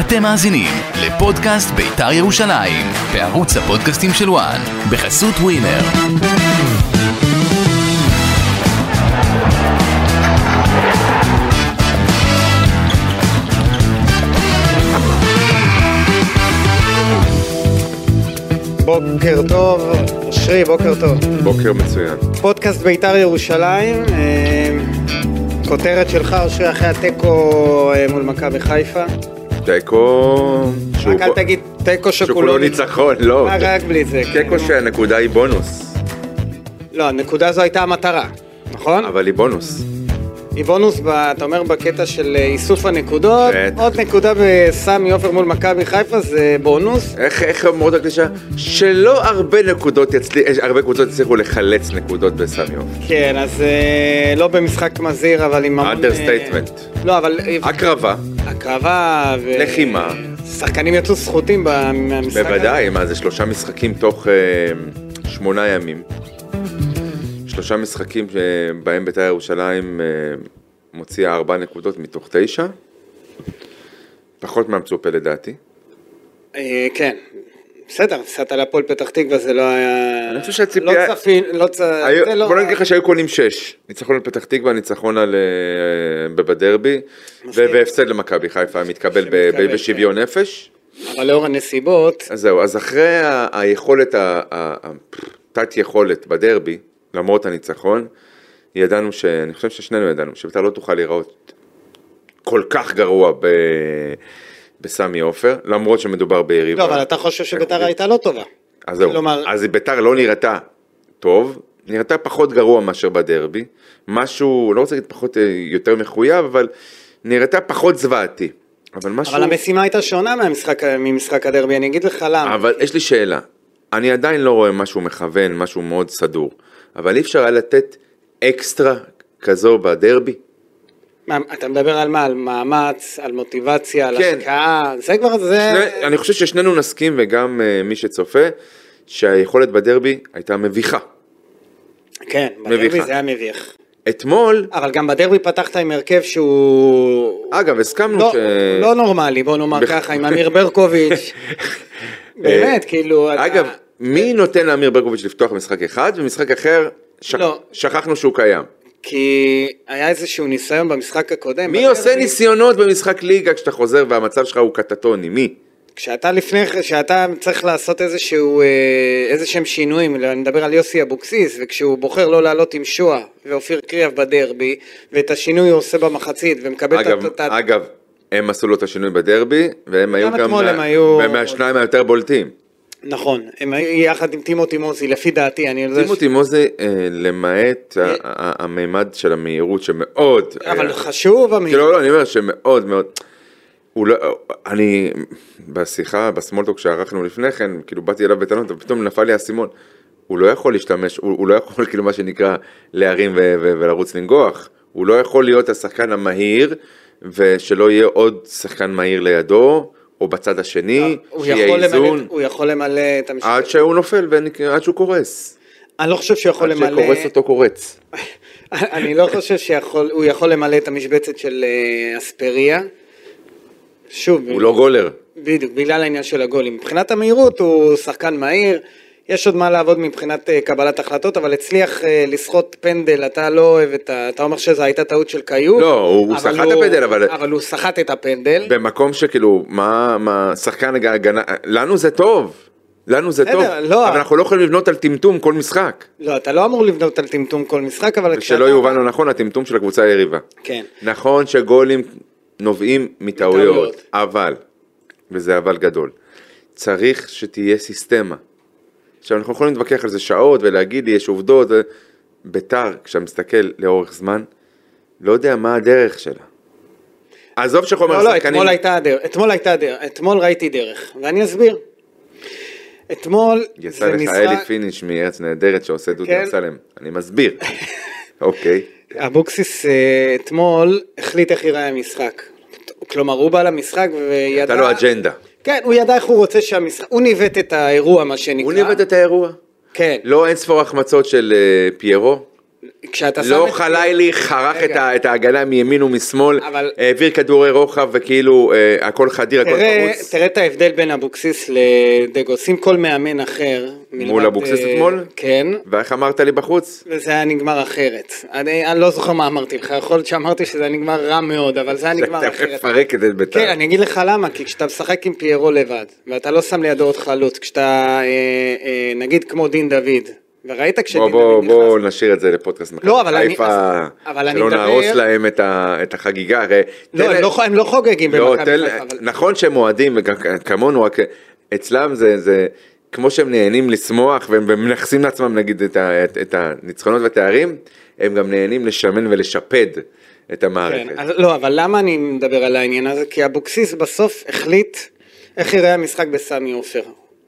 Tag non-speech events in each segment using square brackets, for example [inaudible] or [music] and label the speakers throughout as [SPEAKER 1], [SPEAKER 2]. [SPEAKER 1] אתם מאזינים לפודקאסט בית"ר ירושלים, בערוץ הפודקאסטים של וואן, בחסות ווינר.
[SPEAKER 2] בוקר טוב, אושרי, בוקר טוב.
[SPEAKER 3] בוקר מצוין.
[SPEAKER 2] פודקאסט בית"ר ירושלים, אה, כותרת שלך, אושרי, אחרי התיקו אה, מול מכבי חיפה.
[SPEAKER 3] תיקו... שהוא
[SPEAKER 2] רק אל
[SPEAKER 3] בו-
[SPEAKER 2] תגיד תיקו
[SPEAKER 3] שכולו
[SPEAKER 2] שכולו...
[SPEAKER 3] ניצחון, לא.
[SPEAKER 2] רק- רק בלי זה. כן,
[SPEAKER 3] תיקו
[SPEAKER 2] נו.
[SPEAKER 3] שהנקודה היא בונוס,
[SPEAKER 2] לא, הנקודה הזו הייתה המטרה, נכון?
[SPEAKER 3] אבל היא בונוס.
[SPEAKER 2] היא בונוס, ב- אתה אומר, בקטע של אה, איסוף הנקודות.
[SPEAKER 3] בטח.
[SPEAKER 2] עוד נקודה בסמי עופר מול מכבי חיפה זה בונוס.
[SPEAKER 3] איך, איך אומרות הקלישה? שלא הרבה נקודות יצליח, הרבה קבוצות יצליחו לחלץ נקודות בסמי עופר.
[SPEAKER 2] כן, אז אה, לא במשחק מזהיר, אבל עם המון... אה,
[SPEAKER 3] Understatement.
[SPEAKER 2] לא, אבל... אה,
[SPEAKER 3] הקרבה,
[SPEAKER 2] הקרבה ו...
[SPEAKER 3] לחימה.
[SPEAKER 2] שחקנים יצאו סחוטים במשחק
[SPEAKER 3] בוודאי, מה זה שלושה משחקים תוך אה, שמונה ימים. שלושה משחקים שבהם בית"ר ירושלים אה, מוציאה ארבע נקודות מתוך תשע. פחות מהמצופה לדעתי.
[SPEAKER 2] אה, כן. בסדר, הפסדת להפועל פתח תקווה זה לא היה...
[SPEAKER 3] אני חושב שהציפייה-
[SPEAKER 2] לא צפין, לא צ...
[SPEAKER 3] היו-
[SPEAKER 2] זה לא...
[SPEAKER 3] בוא נגיד לך שהיו קונים שש, ניצחון על פתח תקווה, ניצחון על... אה, ב- בדרבי,
[SPEAKER 2] מסכים.
[SPEAKER 3] ו- והפסד למכבי חיפה, מתקבל ב-
[SPEAKER 2] שמתקבל, כן.
[SPEAKER 3] ב- בשוויון נפש.
[SPEAKER 2] אבל לאור הנסיבות,
[SPEAKER 3] אז זהו, אז אחרי ה- היכולת, ה- ה- ה- תת יכולת בדרבי, למרות הניצחון, ידענו ש... אני חושב ששנינו ידענו, שבית"ר לא תוכל להיראות כל כך גרוע ב... בסמי עופר, למרות שמדובר ביריבה.
[SPEAKER 2] לא, אבל אתה חושב שביתר
[SPEAKER 3] איכותית.
[SPEAKER 2] הייתה לא טובה.
[SPEAKER 3] אז זהו,
[SPEAKER 2] כלומר-
[SPEAKER 3] אז ביתר לא נראתה טוב, נראתה פחות גרוע מאשר בדרבי, משהו, לא רוצה להגיד פחות, אה, יותר מחויב, אבל נראתה פחות זוועתי. אבל משהו...
[SPEAKER 2] אבל המשימה הייתה שונה מהמשחק, ממשחק הדרבי, אני אגיד לך למה.
[SPEAKER 3] אבל יש לי שאלה, אני עדיין לא רואה משהו מכוון, משהו מאוד סדור, אבל אי אפשר היה לתת אקסטרה כזו
[SPEAKER 2] אה.
[SPEAKER 3] בדרבי?
[SPEAKER 2] מה, אתה מדבר על מה? על מאמץ, על מוטיבציה, על
[SPEAKER 3] כן.
[SPEAKER 2] השקעה, זה כבר, זה...
[SPEAKER 3] שני, אני חושב ששנינו נסכים, וגם אה, מי שצופה, שהיכולת בדרבי הייתה מביכה.
[SPEAKER 2] כן, בדרבי
[SPEAKER 3] מביכה.
[SPEAKER 2] זה היה מביך.
[SPEAKER 3] אתמול,
[SPEAKER 2] אבל גם בדרבי פתחת עם הרכב שהוא...
[SPEAKER 3] אגב, הסכמנו
[SPEAKER 2] לא,
[SPEAKER 3] ש...
[SPEAKER 2] לא נורמלי, בוא נאמר
[SPEAKER 3] בכ-
[SPEAKER 2] ככה, עם אמיר
[SPEAKER 3] [laughs]
[SPEAKER 2] ברקוביץ'. באמת, כאילו, אתה-
[SPEAKER 3] אגב, מי נותן לאמיר ברקוביץ' לפתוח משחק אחד, ומשחק אחר, שכ-
[SPEAKER 2] לא.
[SPEAKER 3] שכחנו שהוא קיים.
[SPEAKER 2] כי היה איזשהו ניסיון במשחק הקודם.
[SPEAKER 3] מי
[SPEAKER 2] בדרבי,
[SPEAKER 3] עושה ניסיונות במשחק ליגה כשאתה חוזר והמצב שלך הוא קטטוני? מי?
[SPEAKER 2] כשאתה לפני, כשאתה צריך לעשות איזשהו, אה, איזה שהם שינויים, אני מדבר על יוסי אבוקסיס, וכשהוא בוחר לא לעלות עם שואה ואופיר קריאף בדרבי, ואת השינוי הוא עושה במחצית, ומקבל את ה-
[SPEAKER 3] אגב,
[SPEAKER 2] את ה...
[SPEAKER 3] אגב, הם עשו לו את השינוי בדרבי, והם היו גם
[SPEAKER 2] אתמול
[SPEAKER 3] מה-
[SPEAKER 2] הם היו-
[SPEAKER 3] והם מהשניים היותר בולטים.
[SPEAKER 2] נכון, הם היו יחד עם טימותי מוזי, לפי דעתי, אני לא יודע...
[SPEAKER 3] טימותי מוזי, אה, למעט ה-
[SPEAKER 2] אה.
[SPEAKER 3] ה- המימד של המהירות שמאוד... אה,
[SPEAKER 2] ש- אבל
[SPEAKER 3] היה-
[SPEAKER 2] חשוב, אמיר.
[SPEAKER 3] כאילו, לא, אני אומר שמאוד מאוד... הוא לא, אני, בשיחה, בסמולטוק שערכנו לפני כן, כאילו באתי אליו בטענות, ופתאום נפל לי האסימון. הוא לא יכול להשתמש, הוא, הוא לא יכול, [laughs] כאילו, מה שנקרא, להרים ו- ו- ולרוץ לנגוח. הוא לא יכול להיות השחקן המהיר, ושלא יהיה עוד שחקן מהיר לידו, או בצד השני,
[SPEAKER 2] לא, הוא
[SPEAKER 3] שיהיה
[SPEAKER 2] יכול למלא-
[SPEAKER 3] איזון,
[SPEAKER 2] הוא יכול למלא את המשחק.
[SPEAKER 3] עד שהוא נופל, ונק- עד שהוא קורס.
[SPEAKER 2] אני לא חושב שהוא יכול
[SPEAKER 3] עד
[SPEAKER 2] למלא...
[SPEAKER 3] שקורס אותו קורץ.
[SPEAKER 2] [laughs] אני לא חושב שהוא יכול למלא את המשבצת של אה, אספריה. שוב,
[SPEAKER 3] הוא לא גולר.
[SPEAKER 2] בדיוק, בגלל העניין של הגולים. מבחינת המהירות הוא שחקן מהיר, יש עוד מה לעבוד מבחינת אה, קבלת החלטות, אבל הצליח אה, לסחוט פנדל, אתה לא אוהב את ה... אתה אומר שזו הייתה טעות של קיוב.
[SPEAKER 3] לא, הוא- הוא
[SPEAKER 2] אבל
[SPEAKER 3] סחט את הפנדל, אבל-
[SPEAKER 2] אבל הוא סחט את הפנדל.
[SPEAKER 3] במקום שכאילו, מה, מה, שחקן הג- הגנה, לנו זה טוב, לנו זה
[SPEAKER 2] בסדר,
[SPEAKER 3] טוב,
[SPEAKER 2] לא.
[SPEAKER 3] אבל אנחנו לא יכולים לבנות על טמטום כל משחק,
[SPEAKER 2] לא, אתה לא אמור לבנות על טמטום כל משחק, אבל
[SPEAKER 3] ושלא יובן לא נכון, הטמטום של הקבוצה היריבה.
[SPEAKER 2] כן.
[SPEAKER 3] נכון שגולים נובעים
[SPEAKER 2] מטעויות.
[SPEAKER 3] מטעויות, אבל, וזה אבל גדול, צריך שתהיה סיסטמה. עכשיו אנחנו יכולים להתווכח על זה שעות ולהגיד לי יש עובדות, ו- ביתר, כשאתה מסתכל לאורך זמן, לא יודע מה הדרך שלה. עזוב שחומר
[SPEAKER 2] לא, לא,
[SPEAKER 3] השחקנים-
[SPEAKER 2] אתמול הייתה הדרך, אתמול הייתה הדרך, אתמול ראיתי דרך, ואני אסביר. אתמול
[SPEAKER 3] יצא
[SPEAKER 2] זה
[SPEAKER 3] לך אלי
[SPEAKER 2] משחק,
[SPEAKER 3] פיניש מארץ נהדרת שעושה דודי
[SPEAKER 2] כן.
[SPEAKER 3] אמסלם, אני
[SPEAKER 2] [laughs]
[SPEAKER 3] מסביר. אוקיי,
[SPEAKER 2] אבוקסיס אה, אתמול החליט איך ייראה המשחק. כלומר, הוא בא למשחק וידע...
[SPEAKER 3] הייתה לו לא אג'נדה.
[SPEAKER 2] כן, הוא ידע איך הוא רוצה שהמשחק... הוא ניווט את האירוע, מה שנקרא.
[SPEAKER 3] הוא ניווט את האירוע.
[SPEAKER 2] כן.
[SPEAKER 3] לא אין ספור החמצות של אה, פיירו,
[SPEAKER 2] כשאתה שם
[SPEAKER 3] לא
[SPEAKER 2] את-
[SPEAKER 3] חלילי חרך
[SPEAKER 2] רגע.
[SPEAKER 3] את ה- את ההגנה מימין ומשמאל,
[SPEAKER 2] אבל-
[SPEAKER 3] העביר כדורי רוחב וכאילו אה, הכל חדיר, הכל
[SPEAKER 2] תראה,
[SPEAKER 3] פרוץ.
[SPEAKER 2] תראה את ההבדל בין אבוקסיס לדגוס. אם כל מאמן אחר... מלבד,
[SPEAKER 3] אבוקסיס
[SPEAKER 2] אה,
[SPEAKER 3] אתמול?
[SPEAKER 2] כן.
[SPEAKER 3] ואיך אמרת לי בחוץ?
[SPEAKER 2] וזה היה נגמר אחרת. אני, אני לא זוכר מה אמרתי לך, יכול להיות שאמרתי שזה היה נגמר רע מאוד, אבל זה היה נגמר
[SPEAKER 3] שאתה
[SPEAKER 2] אחרת.
[SPEAKER 3] מפרק את בית"ר.
[SPEAKER 2] כן, אני אגיד לך למה, כי כשאתה משחק עם פיירו לבד, ואתה לא שם לידו עוד חלוץ, כשאתה, אה, אה, נגיד כמו דין דוד, וראית כשדין
[SPEAKER 3] בוא,
[SPEAKER 2] דוד
[SPEAKER 3] בוא,
[SPEAKER 2] נכנס...
[SPEAKER 3] בוא נשאיר את זה לפודקאסט מכבי
[SPEAKER 2] לא, אבל אני-
[SPEAKER 3] חיפה,
[SPEAKER 2] אז- אבל אני
[SPEAKER 3] שלא
[SPEAKER 2] מדבר-
[SPEAKER 3] נהרוס להם את, ה, את החגיגה, הרי...
[SPEAKER 2] לא,
[SPEAKER 3] תן
[SPEAKER 2] הם
[SPEAKER 3] להם-
[SPEAKER 2] לא, ח- הם לא חוגגים
[SPEAKER 3] לא,
[SPEAKER 2] במכבי
[SPEAKER 3] תן,
[SPEAKER 2] חיפה, אבל...
[SPEAKER 3] נכון שהם אוהדים, וגם- כמונו, רק אצלם זה, זה כמו שהם נהנים לשמוח, והם מנכסים לעצמם נגיד את, ה, את, את הניצחונות והתארים, הם גם נהנים לשמן ולשפד את המערכת.
[SPEAKER 2] כן, אז, לא, אבל למה אני מדבר על העניין הזה? כי אבוקסיס בסוף החליט איך יראה המשחק בסמי עופר.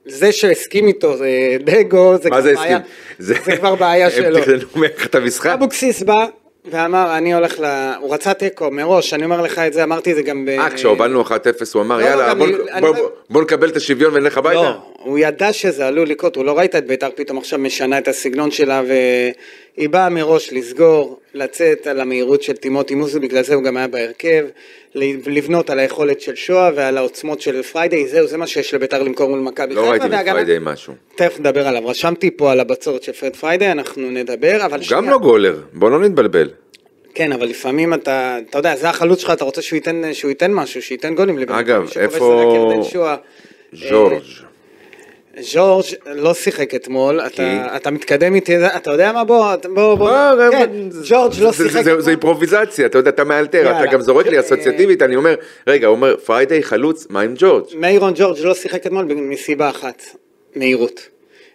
[SPEAKER 2] זה שהסכים איתו, אה, דגו, זה
[SPEAKER 3] מה
[SPEAKER 2] כבר
[SPEAKER 3] זה
[SPEAKER 2] בעיה,
[SPEAKER 3] הסכים?
[SPEAKER 2] זה כבר בעיה שלו.
[SPEAKER 3] הם תכננו ממך את המשחק.
[SPEAKER 2] אבוקסיס בא ואמר, אני הולך ל... הוא רצה תיקו מראש, אני אומר לך את זה, אמרתי את זה גם ב...
[SPEAKER 3] אה, כשהובלנו 1-0 הוא אמר,
[SPEAKER 2] לא,
[SPEAKER 3] יאללה,
[SPEAKER 2] גם
[SPEAKER 3] בוא-
[SPEAKER 2] אני-
[SPEAKER 3] בוא-
[SPEAKER 2] אני-
[SPEAKER 3] בוא- בוא נקבל את השוויון ונלך הביתה.
[SPEAKER 2] לא, הוא ידע שזה עלול לקרות, הוא לא ראית את בית"ר פתאום עכשיו משנה את הסגנון שלה והיא באה מראש לסגור, לצאת על המהירות של טימוטי מוסו, בגלל זה הוא גם היה בהרכב, ל- לבנות על היכולת של שואה ועל העוצמות של פריידי, זהו, זה מה שיש לבית"ר למכור מול מכבי
[SPEAKER 3] לא ראיתי
[SPEAKER 2] והגנה-
[SPEAKER 3] מפריידי משהו.
[SPEAKER 2] תכף נדבר עליו, רשמתי פה על הבצורת של פרד פריידי, אנחנו נדבר, אבל
[SPEAKER 3] הוא גם לא גולר, בוא לא נתבלבל.
[SPEAKER 2] כן, אבל לפעמים אתה, אתה יודע, זה החלוץ שלך, אתה רוצה שהוא ייתן, שהוא ייתן משהו, שייתן גולים לבן אדם.
[SPEAKER 3] אגב,
[SPEAKER 2] שקורא
[SPEAKER 3] איפה-
[SPEAKER 2] סדק, ירדן שואה.
[SPEAKER 3] ז'ורג'.
[SPEAKER 2] אה, ז'ורג' לא שיחק אתמול, אתה, אתה מתקדם איתי, אתה יודע מה? בוא, אתה- בוא, בוא.
[SPEAKER 3] לא,
[SPEAKER 2] כן,
[SPEAKER 3] זה-
[SPEAKER 2] ז'ורג' לא
[SPEAKER 3] זה-
[SPEAKER 2] שיחק
[SPEAKER 3] זה- זה- זה אימפרוביזציה, אתה יודע, אתה מאלתר, אתה
[SPEAKER 2] יאללה.
[SPEAKER 3] גם זורק לי
[SPEAKER 2] אה,
[SPEAKER 3] אסוציאטיבית, אני אומר, רגע, הוא אומר, פריידי חלוץ, מה עם ג'ורג'?
[SPEAKER 2] מיירון ג'ורג' לא שיחק אתמול מסיבה אחת, מהירות.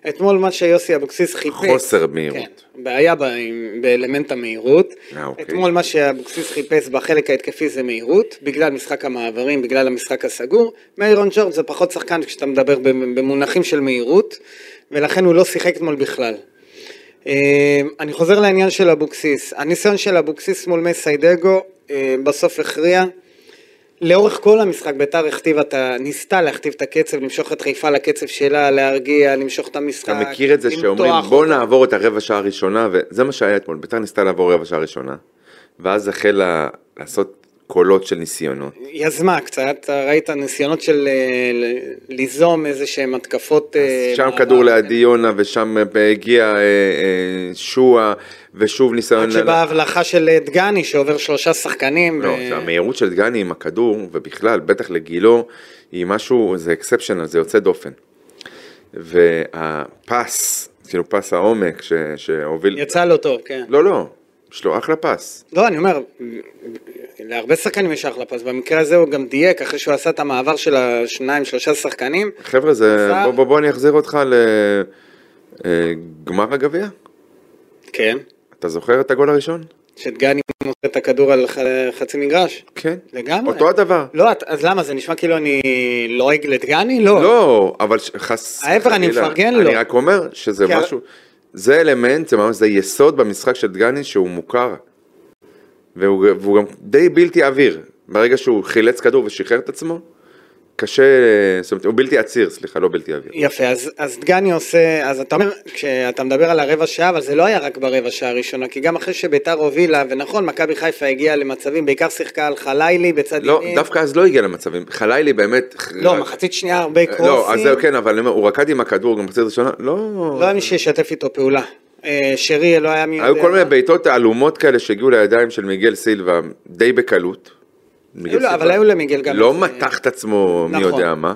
[SPEAKER 2] אתמול מה שיוסי אבוקסיס חיפש...
[SPEAKER 3] חוסר מהירות.
[SPEAKER 2] כן, בעיה ב- עם- באלמנט המהירות.
[SPEAKER 3] אה, אוקיי.
[SPEAKER 2] אתמול מה שאבוקסיס חיפש בחלק ההתקפי זה מהירות, בגלל משחק המעברים, בגלל המשחק הסגור. מיירון ג'ורג' זה פחות שחקן כשאתה מדבר במ- במונחים של מהירות, ולכן הוא לא שיחק אתמול בכלל. אה, אני חוזר לעניין של אבוקסיס. הניסיון של אבוקסיס מול מסיידגו אה, בסוף הכריע. לאורך כל המשחק ביתר הכתיבה את ה... ניסתה להכתיב את הקצב, למשוך את חיפה לקצב שלה, להרגיע, למשוך את המשחק.
[SPEAKER 3] אתה מכיר את זה
[SPEAKER 2] למתוח
[SPEAKER 3] שאומרים,
[SPEAKER 2] אותו.
[SPEAKER 3] בוא נעבור את הרבע שעה הראשונה, וזה מה שהיה אתמול, ביתר ניסתה לעבור רבע שעה ראשונה, ואז החלה לעשות קולות של ניסיונות.
[SPEAKER 2] יזמה קצת, אתה ראית ניסיונות של אה, ל- ליזום איזה שהן התקפות. אה,
[SPEAKER 3] שם
[SPEAKER 2] מעבר.
[SPEAKER 3] כדור לידי יונה, ושם אה, הגיע אה, אה, שועה, ושוב ניסיון...
[SPEAKER 2] עד שבאה הבלחה של אה, דגני שעובר שלושה שחקנים. אה,
[SPEAKER 3] לא,
[SPEAKER 2] ו-
[SPEAKER 3] זה המהירות של דגני עם הכדור, ובכלל, בטח לגילו, היא משהו, זה אקספשיונל, זה יוצא דופן. והפס, כאילו פס העומק ש, שהוביל...
[SPEAKER 2] יצא לו טוב, כן.
[SPEAKER 3] לא, לא, יש לו אחלה פס.
[SPEAKER 2] לא, אני אומר, להרבה שחקנים יש אחלה פס, במקרה הזה הוא גם דייק, אחרי שהוא עשה את המעבר של השניים, שלושה שחקנים,
[SPEAKER 3] חבר'ה, זה...
[SPEAKER 2] אפשר-
[SPEAKER 3] בוא, בוא, בוא, אני אחזיר אותך לגמר הגביע.
[SPEAKER 2] כן,
[SPEAKER 3] אתה זוכר את הגול הראשון?
[SPEAKER 2] שדגני מוסר את הכדור על ח- חצי מגרש.
[SPEAKER 3] כן.
[SPEAKER 2] לגמרי.
[SPEAKER 3] אותו הדבר.
[SPEAKER 2] לא, את- אז למה, זה נשמע כאילו אני לועג לדגני? לא.
[SPEAKER 3] לא, אבל ש- חס...
[SPEAKER 2] ההפך, אני
[SPEAKER 3] חלילה.
[SPEAKER 2] מפרגן
[SPEAKER 3] אני
[SPEAKER 2] לו.
[SPEAKER 3] רק אומר שזה
[SPEAKER 2] כי ה-
[SPEAKER 3] משהו... זה אלמנט, זה ממש, זה יסוד במשחק של דגני שהוא מוכר. והוא, והוא גם די בלתי עביר. ברגע שהוא חילץ כדור ושחרר את עצמו, קשה... זאת אומרת, הוא בלתי עציר, סליחה, לא בלתי עביר.
[SPEAKER 2] יפה, אז, אז דגני עושה, אז אתה אומר, כשאתה מדבר על הרבע שעה, אבל זה לא היה רק ברבע שעה הראשונה, כי גם אחרי שביתר הובילה, ונכון, מכבי חיפה הגיעה למצבים, בעיקר שיחקה על חלילי בצד
[SPEAKER 3] לא,
[SPEAKER 2] ימין.
[SPEAKER 3] דווקא אז לא הגיע למצבים. חלילי באמת...
[SPEAKER 2] אה, לא, מחצית שנייה הרבה קרוסים.
[SPEAKER 3] לא, אז זהו, כן, אבל אני אומר, הוא רקד עם הכדור גם מחצית ראשונה, לא...
[SPEAKER 2] לא היה מי שישתף איתו פעולה. אה, שרי לא היה מי...
[SPEAKER 3] היו
[SPEAKER 2] יודע
[SPEAKER 3] כל מיני
[SPEAKER 2] מה.
[SPEAKER 3] בעיטות עלומות כאלה שהגיעו לידיים של מיגל סילבה די בקלות. מיגל
[SPEAKER 2] היו לו-
[SPEAKER 3] סילבה
[SPEAKER 2] לא, אבל היו למיגל גם
[SPEAKER 3] לא
[SPEAKER 2] איזה-
[SPEAKER 3] מתח את עצמו מי
[SPEAKER 2] נכון.
[SPEAKER 3] יודע מה.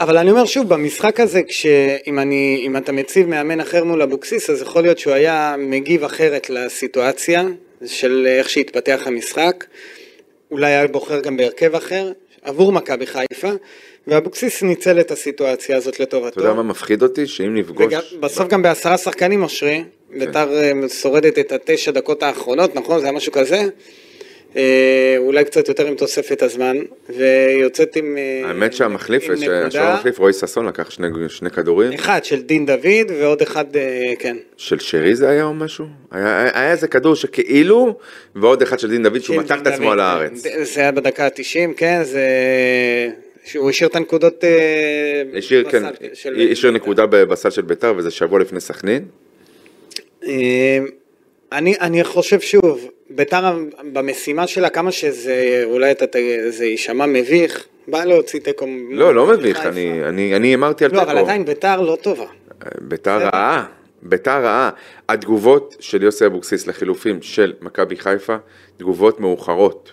[SPEAKER 2] אבל אני אומר שוב, במשחק הזה, כשאם אני, אם אתה מציב מאמן אחר מול אבוקסיס, אז יכול להיות שהוא היה מגיב אחרת לסיטואציה של איך שהתפתח המשחק. אולי היה בוחר גם בהרכב אחר, עבור מכבי חיפה, ואבוקסיס ניצל את הסיטואציה הזאת
[SPEAKER 3] אתה
[SPEAKER 2] לטובתו.
[SPEAKER 3] יודע מה מפחיד אותי? שאם
[SPEAKER 2] וגם-
[SPEAKER 3] נפגוש...
[SPEAKER 2] בסוף גם בעשרה שחקנים, אושרי,
[SPEAKER 3] כן.
[SPEAKER 2] ביתר אה, שורדת את התשע דקות האחרונות, נכון? זה היה משהו כזה? אה, אולי קצת יותר עם תוספת הזמן, ויוצאת עם... אה,
[SPEAKER 3] האמת שהמחליף,
[SPEAKER 2] עם נקודה.
[SPEAKER 3] שהשוער המחליף, רועי ששון לקח שני- שני כדורים,
[SPEAKER 2] אחד של דין דוד ועוד אחד, אה, כן.
[SPEAKER 3] של שרי זה היה או משהו? היה היה- היה איזה כדור שכאילו, ועוד אחד של דין דוד שהוא
[SPEAKER 2] של
[SPEAKER 3] מתח את
[SPEAKER 2] דין
[SPEAKER 3] עצמו
[SPEAKER 2] דוד. כן.
[SPEAKER 3] על הארץ.
[SPEAKER 2] זה היה בדקה ה-90, כן, זה... שהוא השאיר את הנקודות... אה,
[SPEAKER 3] השאיר,
[SPEAKER 2] בסל
[SPEAKER 3] כן,
[SPEAKER 2] של-
[SPEAKER 3] השאיר נקודה בסל של ביתר וזה שבוע לפני סכנין.
[SPEAKER 2] אה, אני, אני חושב שוב, ביתר במשימה שלה, כמה שזה, אולי אתה, ת- זה יישמע מביך, בא להוציא תיקו.
[SPEAKER 3] לא, לא מביך,
[SPEAKER 2] מחיפה.
[SPEAKER 3] אני- אני אני אמרתי על
[SPEAKER 2] נכון, לא, אבל
[SPEAKER 3] תיקו.
[SPEAKER 2] עדיין ביתר לא טובה.
[SPEAKER 3] ביתר רעה, ביתר רעה. התגובות של יוסי אבוקסיס לחילופים של מכבי חיפה, תגובות מאוחרות.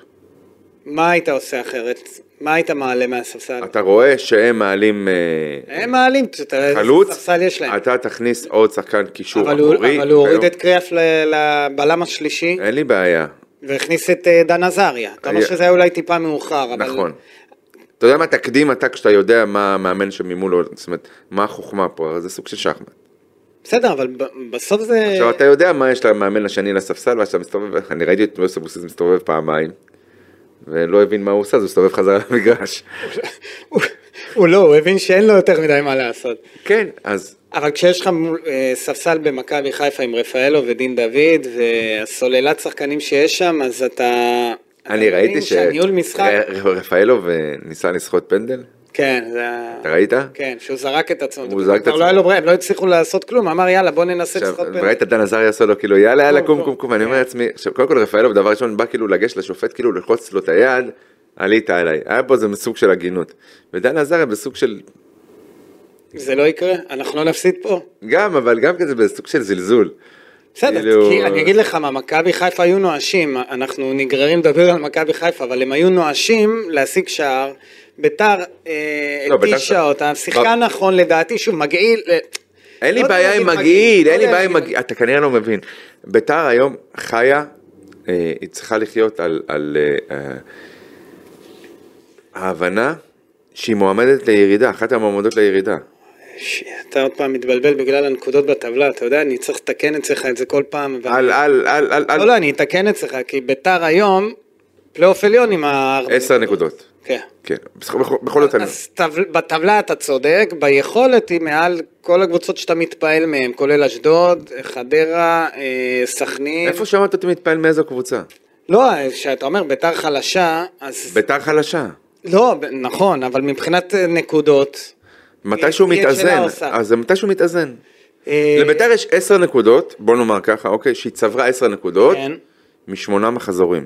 [SPEAKER 2] מה היית עושה אחרת? מה היית מעלה מהספסל?
[SPEAKER 3] אתה רואה שהם מעלים אה,
[SPEAKER 2] הם מעלים, פשוט,
[SPEAKER 3] חלוץ,
[SPEAKER 2] ספסל יש להם.
[SPEAKER 3] אתה תכניס עוד שחקן קישור
[SPEAKER 2] אבל הוא,
[SPEAKER 3] אחורי.
[SPEAKER 2] אבל הוא הוריד
[SPEAKER 3] והוא-
[SPEAKER 2] את קריאף ל- לבלם השלישי,
[SPEAKER 3] אין לי בעיה,
[SPEAKER 2] והכניס את אה, דן עזריה. כמה
[SPEAKER 3] היה-
[SPEAKER 2] שזה היה אולי טיפה מאוחר, אבל...
[SPEAKER 3] נכון. אתה יודע מה, תקדים אתה כשאתה יודע מה המאמן שממולו, זאת אומרת, מה החוכמה פה, הרי זה סוג של
[SPEAKER 2] אה.
[SPEAKER 3] שחמט.
[SPEAKER 2] בסדר, אבל ב- בסוף זה...
[SPEAKER 3] עכשיו אתה יודע מה יש למאמן השני לספסל, ואז אתה מסתובב, אני ראיתי את יוסי אבוקסיס מסתובב פעמיים, ולא הבין מה הוא עושה, אז הוא הסתובב חזרה
[SPEAKER 2] [laughs]
[SPEAKER 3] למגרש.
[SPEAKER 2] הוא- הוא לא, הוא הבין שאין לו יותר מדי מה לעשות.
[SPEAKER 3] כן, אז
[SPEAKER 2] אבל כשיש לך מול- אה, ספסל במכבי חיפה עם רפאלו ודין דוד והסוללת שחקנים שיש שם, אז אתה... אתה
[SPEAKER 3] אני ראיתי
[SPEAKER 2] מבין
[SPEAKER 3] ש...
[SPEAKER 2] שהניהול משחק...
[SPEAKER 3] ר- ר- רפאלו אה, ניסה לסחוט פנדל,
[SPEAKER 2] כן, זה... ה-
[SPEAKER 3] אתה ראית?
[SPEAKER 2] כן, שהוא זרק את עצמו.
[SPEAKER 3] הוא זרק את
[SPEAKER 2] כבר
[SPEAKER 3] עצמו.
[SPEAKER 2] לא היה לו ברירה, הם לא הצליחו לעשות כלום, אמר יאללה בוא ננסה
[SPEAKER 3] עכשיו,
[SPEAKER 2] לסחוט פנדל.
[SPEAKER 3] ראית את דן עזריה עושה לו כאילו יאללה יאללה
[SPEAKER 2] קום,
[SPEAKER 3] קום
[SPEAKER 2] קום.
[SPEAKER 3] קום קום, אני אומר לעצמי, עכשיו קודם כל רפאלו דבר ראשון בא כאילו לגשת לשופט כאילו ללחוץ לו את היד, עלית עליי, היה פה איזה סוג של הגינות, ודן עזריה בסוג של,
[SPEAKER 2] זה לא יקרה, אנחנו לא נפסיד פה.
[SPEAKER 3] גם אבל גם כזה בסוג של זלזול,
[SPEAKER 2] בסדר,
[SPEAKER 3] כאילו-
[SPEAKER 2] כי אני אגיד לך מה, מכבי חיפה היו נואשים, אנחנו נגררים לדבר על מכבי חיפה, אבל הם היו נואשים להשיג שער, ביתר אה,
[SPEAKER 3] לא, ביתר-
[SPEAKER 2] התישה אותה, שיחקה
[SPEAKER 3] ב-
[SPEAKER 2] נכון לדעתי, שוב, מגעיל, אה,
[SPEAKER 3] אין לי
[SPEAKER 2] לא יודע
[SPEAKER 3] בעיה עם
[SPEAKER 2] להגיד
[SPEAKER 3] מגעיל,
[SPEAKER 2] לא
[SPEAKER 3] אין לי
[SPEAKER 2] יודע
[SPEAKER 3] בעיה עם
[SPEAKER 2] להגיד
[SPEAKER 3] מגעיל, אתה כנראה לא מבין. ביתר היום חיה, אה, היא צריכה לחיות על- על אה, אה, ההבנה שהיא מועמדת לירידה, אחת המועמדות לירידה.
[SPEAKER 2] ש- אתה עוד פעם מתבלבל בגלל הנקודות בטבלה, אתה יודע, אני צריך לתקן אצלך את זה כל פעם. אבל-
[SPEAKER 3] על, על, על, על,
[SPEAKER 2] לא,
[SPEAKER 3] על,
[SPEAKER 2] לא, אני אתקן אצלך, כי ביתר היום, פלייאוף עליון עם ה...
[SPEAKER 3] עשר נקודות.
[SPEAKER 2] כן.
[SPEAKER 3] כן, בכל- בכל- בכל זאת אני...
[SPEAKER 2] אז טבל- בטבלה אתה צודק, ביכולת היא מעל כל הקבוצות שאתה מתפעל מהן, כולל אשדוד, חדרה, אה, סכנין.
[SPEAKER 3] איפה שמעת אותי מתפעל מאיזו קבוצה?
[SPEAKER 2] לא, כשאתה אומר ביתר חלשה, אז...
[SPEAKER 3] ביתר חלשה.
[SPEAKER 2] לא, ב- נכון, אבל מבחינת אה, נקודות...
[SPEAKER 3] מתי שהוא
[SPEAKER 2] היא את שלה
[SPEAKER 3] מתאזן,
[SPEAKER 2] עושה.
[SPEAKER 3] אז זה מתי שהוא מתאזן.
[SPEAKER 2] אה,
[SPEAKER 3] לביתר יש עשר נקודות, בוא נאמר ככה, אוקיי, שהיא צברה עשר נקודות
[SPEAKER 2] כן.
[SPEAKER 3] משמונה מחזורים.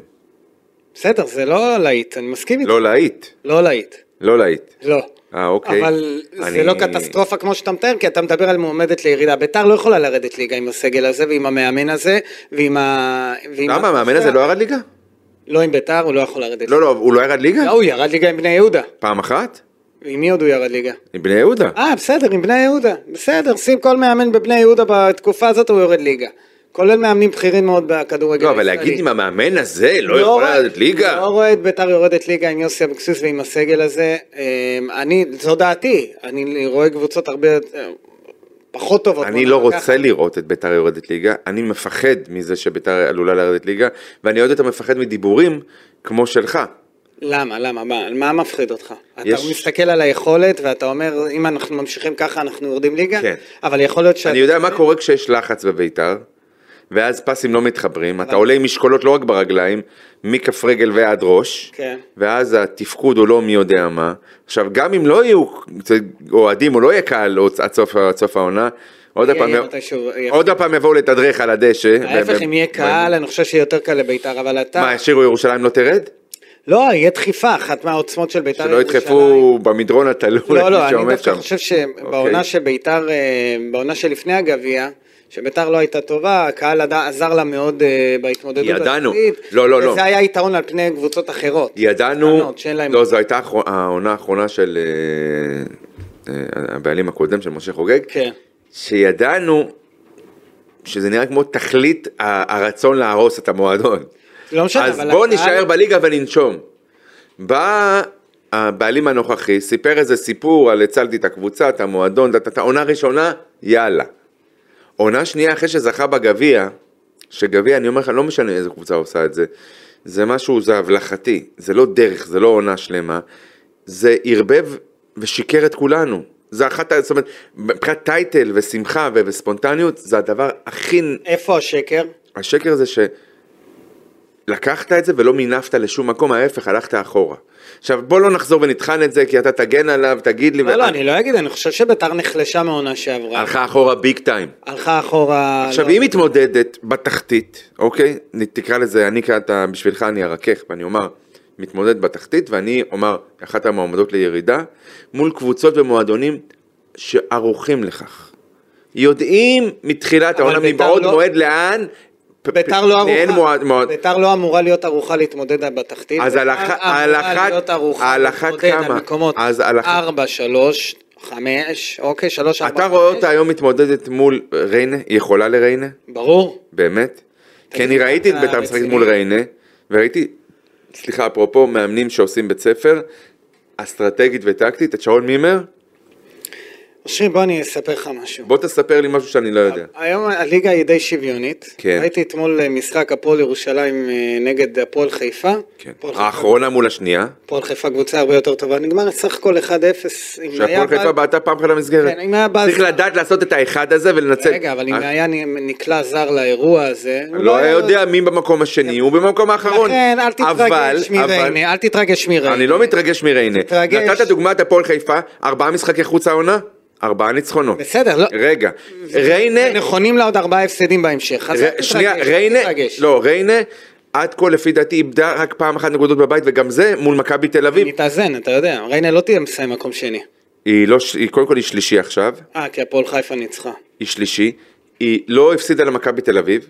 [SPEAKER 2] בסדר, זה לא להיט, אני מסכים איתך.
[SPEAKER 3] לא להיט,
[SPEAKER 2] לא להיט.
[SPEAKER 3] לא להיט.
[SPEAKER 2] לא.
[SPEAKER 3] אה, אוקיי.
[SPEAKER 2] אבל זה
[SPEAKER 3] אני-
[SPEAKER 2] לא קטסטרופה כמו שאתה מתאר, כי אתה מדבר על מועמדת לירידה. ביתר לא יכולה לרדת ליגה עם הסגל הזה ועם המאמן הזה, ועם ה... ועם
[SPEAKER 3] למה, המאמן
[SPEAKER 2] התקופה.
[SPEAKER 3] הזה לא ירד ליגה?
[SPEAKER 2] לא עם ביתר, הוא לא יכול לרדת.
[SPEAKER 3] לא, לא, הוא לא ירד ליגה?
[SPEAKER 2] לא, הוא ירד ליגה עם בני יהודה.
[SPEAKER 3] פעם אחת?
[SPEAKER 2] עם מי עוד הוא ירד ליגה?
[SPEAKER 3] עם בני יהודה.
[SPEAKER 2] אה, בסדר, עם בני יהודה. בסדר, שים כל מאמן בבני יהודה בתקופה הזאת, הוא יורד ליגה. כולל מאמנים בכירים מאוד בכדורגל
[SPEAKER 3] לא, אבל
[SPEAKER 2] הישראלי.
[SPEAKER 3] להגיד אם המאמן הזה לא
[SPEAKER 2] אה, לא
[SPEAKER 3] יכול
[SPEAKER 2] רואה-
[SPEAKER 3] לרדת ליגה?
[SPEAKER 2] לא רואה את ביתר יורדת ליגה עם יוסי אבוקסיס ועם הסגל הזה. אמ, אני, זו דעתי, אני רואה קבוצות הרבה יותר- פחות טובות.
[SPEAKER 3] אני
[SPEAKER 2] בוא
[SPEAKER 3] לא
[SPEAKER 2] נאמר ככה.
[SPEAKER 3] רוצה לראות את ביתר יורדת ליגה, אני מפחד מזה שביתר עלולה לרדת ליגה, ואני עוד יותר מפחד מדיבורים כמו שלך.
[SPEAKER 2] למה, למה, מה, מה מפחיד אותך? אתה
[SPEAKER 3] יש-
[SPEAKER 2] מסתכל על היכולת ואתה אומר, אם אנחנו ממשיכים ככה אנחנו יורדים ליגה?
[SPEAKER 3] כן.
[SPEAKER 2] אבל יכול להיות שאתה...
[SPEAKER 3] אני יודע מה קורה כשיש לחץ בביתר, ואז פסים לא מתחברים, אתה עולה עם משקולות לא רק ברגליים, מכף רגל ועד ראש,
[SPEAKER 2] כן.
[SPEAKER 3] ואז התפקוד הוא לא מי יודע מה. עכשיו, גם אם לא יהיו אוהדים או לא יהיה קהל עוד- עד סוף- עד סוף העונה, עוד
[SPEAKER 2] יהיה
[SPEAKER 3] הפעם יבוא-
[SPEAKER 2] מתישהו- יהיה-
[SPEAKER 3] עוד הפעם יבואו לתדרך על הדשא.
[SPEAKER 2] ההפך,
[SPEAKER 3] ו-
[SPEAKER 2] אם יהיה
[SPEAKER 3] ו-
[SPEAKER 2] קהל, אני חושב שיהיה יותר קל לביתר, אבל אתה...
[SPEAKER 3] מה, ישירו ירושלים לא תרד?
[SPEAKER 2] לא, יהיה דחיפה, אחת מהעוצמות של ביתר
[SPEAKER 3] שלא ידחפו במדרון התלול את
[SPEAKER 2] לא,
[SPEAKER 3] מי
[SPEAKER 2] לא, אני
[SPEAKER 3] שעומד
[SPEAKER 2] דווקא
[SPEAKER 3] שם.
[SPEAKER 2] חושב שבעונה
[SPEAKER 3] אוקיי.
[SPEAKER 2] שביתר, אה, בעונה שלפני הגביע, שביתר לא הייתה טובה, הקהל עד- עזר לה מאוד אה, בהתמודדות.
[SPEAKER 3] ידענו.
[SPEAKER 2] העתידית,
[SPEAKER 3] לא, לא, לא.
[SPEAKER 2] וזה היה יתרון על פני קבוצות אחרות.
[SPEAKER 3] ידענו,
[SPEAKER 2] קטנות, אה, שאין להם-
[SPEAKER 3] לא, זו הייתה האחרונה- העונה האחרונה של אה, אה, הבעלים הקודם, של משה חוגג,
[SPEAKER 2] כן.
[SPEAKER 3] שידענו שזה נראה כמו תכלית ה- הרצון להרוס את המועדון.
[SPEAKER 2] לא משנה,
[SPEAKER 3] אז
[SPEAKER 2] אבל
[SPEAKER 3] בוא
[SPEAKER 2] הקהל-
[SPEAKER 3] נישאר בליגה וננשום. בא הבעלים הנוכחי, סיפר איזה סיפור על הצלתי את הקבוצה, את המועדון, דת- דת- עונה ראשונה, יאללה. עונה שנייה אחרי שזכה בגביע, שגביע, אני אומר לך, לא משנה איזה קבוצה עושה את זה, זה משהו, זה הבלחתי, זה לא דרך, זה לא עונה שלמה, זה ערבב ושיקר את כולנו. זה אחת, ה- זאת אומרת, מבחינת טייטל ושמחה ו- וספונטניות, זה הדבר הכי,
[SPEAKER 2] איפה השקר?
[SPEAKER 3] השקר זה שלקחת את זה ולא מינפת לשום מקום, ההפך, הלכת אחורה. עכשיו בוא לא נחזור ונטחן את זה, כי אתה תגן עליו, תגיד לי.
[SPEAKER 2] לא, לא, אני לא אגיד, אני חושב שביתר נחלשה מעונה שעברה.
[SPEAKER 3] הלכה אחורה ביג טיים.
[SPEAKER 2] הלכה אחורה...
[SPEAKER 3] אה, עכשיו,
[SPEAKER 2] אה, לא-
[SPEAKER 3] היא מתמודדת בתחתית, אוקיי? נ- תקרא לזה, אני כאתה, בשבילך אני ארכך, ואני אומר, מתמודד בתחתית, ואני אומר, אחת המועמדות לירידה, מול קבוצות ומועדונים שערוכים לכך. יודעים מתחילת
[SPEAKER 2] אבל
[SPEAKER 3] העונה,
[SPEAKER 2] בית"ר
[SPEAKER 3] מבעוד
[SPEAKER 2] לא-
[SPEAKER 3] מועד לאן, פ-
[SPEAKER 2] ביתר
[SPEAKER 3] פ-
[SPEAKER 2] לא
[SPEAKER 3] אין
[SPEAKER 2] ערוכה,
[SPEAKER 3] מועד, מועד,
[SPEAKER 2] ביתר לא אמורה להיות ערוכה להתמודד בתחתית.
[SPEAKER 3] אז
[SPEAKER 2] ביתר
[SPEAKER 3] על אח-
[SPEAKER 2] אמורה
[SPEAKER 3] על אחת-
[SPEAKER 2] להיות ערוכה
[SPEAKER 3] על אחת
[SPEAKER 2] להתמודד על
[SPEAKER 3] כמה?
[SPEAKER 2] מקומות
[SPEAKER 3] אז על אחת-
[SPEAKER 2] 4, 3, 5, אוקיי, 3, 4, 5.
[SPEAKER 3] אתה רואה אותה היום מתמודדת מול ריינה, היא יכולה לריינה?
[SPEAKER 2] ברור.
[SPEAKER 3] באמת? כי אני
[SPEAKER 2] תגיד,
[SPEAKER 3] ראיתי את
[SPEAKER 2] אתה
[SPEAKER 3] בית"ר משחקת
[SPEAKER 2] רציני?
[SPEAKER 3] מול ריינה, וראיתי, סליחה, אפרופו מאמנים שעושים בית ספר, אסטרטגית וטקטית, את שרון מימר,
[SPEAKER 2] אושרי, בוא אני אספר לך משהו.
[SPEAKER 3] בוא תספר לי משהו שאני לא יודע.
[SPEAKER 2] היום הליגה היא די שוויונית.
[SPEAKER 3] כן.
[SPEAKER 2] ראיתי אתמול אה, משחק הפועל ירושלים אה, נגד הפועל חיפה.
[SPEAKER 3] כן.
[SPEAKER 2] הפועל חיפה-
[SPEAKER 3] האחרונה מול השנייה,
[SPEAKER 2] הפועל חיפה קבוצה הרבה יותר טובה. נגמר סך הכל 1-0. אם היה
[SPEAKER 3] שהפועל חיפה
[SPEAKER 2] בעד-
[SPEAKER 3] בעטה פעם אחת למסגרת.
[SPEAKER 2] כן, אם היה בעד-
[SPEAKER 3] צריך לדעת לעשות את האחד הזה ולנצל.
[SPEAKER 2] רגע, אבל אם
[SPEAKER 3] אה,
[SPEAKER 2] היה נקלע זר לאירוע הזה... הוא
[SPEAKER 3] לא היה יודע מי במקום השני, הוא במקום האחרון.
[SPEAKER 2] כן. לכן כן, אל
[SPEAKER 3] אבל-
[SPEAKER 2] תתרגש
[SPEAKER 3] אבל-
[SPEAKER 2] מריינה, אל תתרגש מריינה.
[SPEAKER 3] אני לא מתרגש מריינה.
[SPEAKER 2] תתרגש.
[SPEAKER 3] נתת דוגמא את הפועל חיפה, ארבעה משחקי חוץ העונה, ארבעה ניצחונות.
[SPEAKER 2] בסדר, לא...
[SPEAKER 3] רגע, ריינה,
[SPEAKER 2] נכונים לה עוד ארבעה הפסדים בהמשך. נכון. אז אל
[SPEAKER 3] ר-
[SPEAKER 2] תתרגש,
[SPEAKER 3] שנייה,
[SPEAKER 2] אל
[SPEAKER 3] ריינה,
[SPEAKER 2] תתרגש.
[SPEAKER 3] לא, ריינה, עד כה לפי דעתי איבדה רק פעם אחת נקודות בבית, וגם זה מול מכבי תל אביב.
[SPEAKER 2] היא תאזן, אתה יודע, ריינה לא תהיה מסיים מקום שני.
[SPEAKER 3] היא לא, ש- היא קודם כל היא שלישי עכשיו,
[SPEAKER 2] אה, כי הפועל חיפה ניצחה.
[SPEAKER 3] היא שלישי, היא לא הפסידה למכבי תל אביב.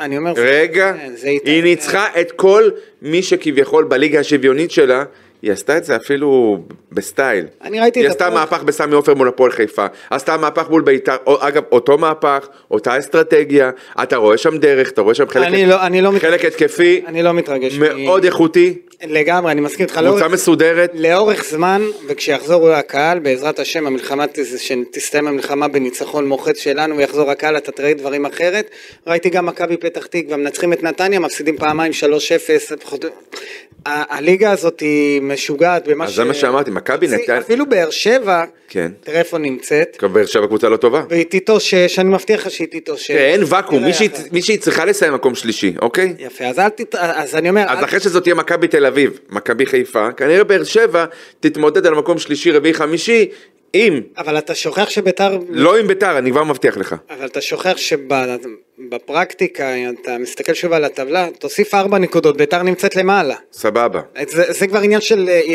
[SPEAKER 2] אני אומר... זה-
[SPEAKER 3] רגע,
[SPEAKER 2] כן, זה
[SPEAKER 3] היא
[SPEAKER 2] יתאזן.
[SPEAKER 3] ניצחה את כל מי שכביכול בליגה השוויונית שלה. היא עשתה את זה אפילו בסטייל.
[SPEAKER 2] אני ראיתי
[SPEAKER 3] היא
[SPEAKER 2] את
[SPEAKER 3] עשתה
[SPEAKER 2] הפועל-
[SPEAKER 3] מהפך בסמי עופר מול הפועל חיפה, עשתה מהפך מול בית"ר, או- אגב, אותו מהפך, אותה אסטרטגיה, אתה רואה שם דרך, אתה רואה שם חלק,
[SPEAKER 2] אני לא- אני לא
[SPEAKER 3] חלק
[SPEAKER 2] מתרגש.
[SPEAKER 3] התקפי,
[SPEAKER 2] אני לא מתרגש.
[SPEAKER 3] מאוד
[SPEAKER 2] אני-
[SPEAKER 3] איכותי,
[SPEAKER 2] לגמרי, אני מסכים איתך.
[SPEAKER 3] קבוצה
[SPEAKER 2] לאורך-
[SPEAKER 3] מסודרת,
[SPEAKER 2] לאורך זמן, וכשיחזור הקהל, בעזרת השם, המלחמה, תס- שתסתיים המלחמה בניצחון מוחץ שלנו ויחזור הקהל, אתה תראה דברים אחרת. ראיתי גם מכבי פתח תקווה, מנצחים את נתניה, מפסידים פעמיים 3-0. פחות- ה- הליגה הזאת היא משוגעת במה
[SPEAKER 3] אז זה מה שאמרתי, מכבי
[SPEAKER 2] אפילו-
[SPEAKER 3] נתניה-
[SPEAKER 2] אפילו באר שבע,
[SPEAKER 3] כן.
[SPEAKER 2] תראה איפה נמצאת,
[SPEAKER 3] גם באר שבע קבוצה לא טובה.
[SPEAKER 2] והיא תתאושש, אני מבטיח לך שהיא תתאושש.
[SPEAKER 3] אין כן, ואקום,
[SPEAKER 2] כן, תראה כן.
[SPEAKER 3] מישהי-
[SPEAKER 2] אחר.
[SPEAKER 3] מישהי צריכה לסיים מקום שלישי, אוקיי?
[SPEAKER 2] לא יפה, אז אל תת... אז אני אומר...
[SPEAKER 3] אז
[SPEAKER 2] אל-
[SPEAKER 3] אחרי שזאת תהיה מכבי תל אביב, מכבי חיפה, כנראה באר שבע תתמודד על מקום שלישי, רביעי, חמישי, אם,
[SPEAKER 2] אבל אתה שוכח שביתר...
[SPEAKER 3] לא עם ביתר, אני כבר מבטיח לך.
[SPEAKER 2] אבל אתה שוכח שבפרקטיקה, אתה מסתכל שוב על הטבלה, תוסיף ארבע נקודות, ביתר נמצאת למעלה.
[SPEAKER 3] סבבה.
[SPEAKER 2] זה, זה כבר עניין של אה, אה,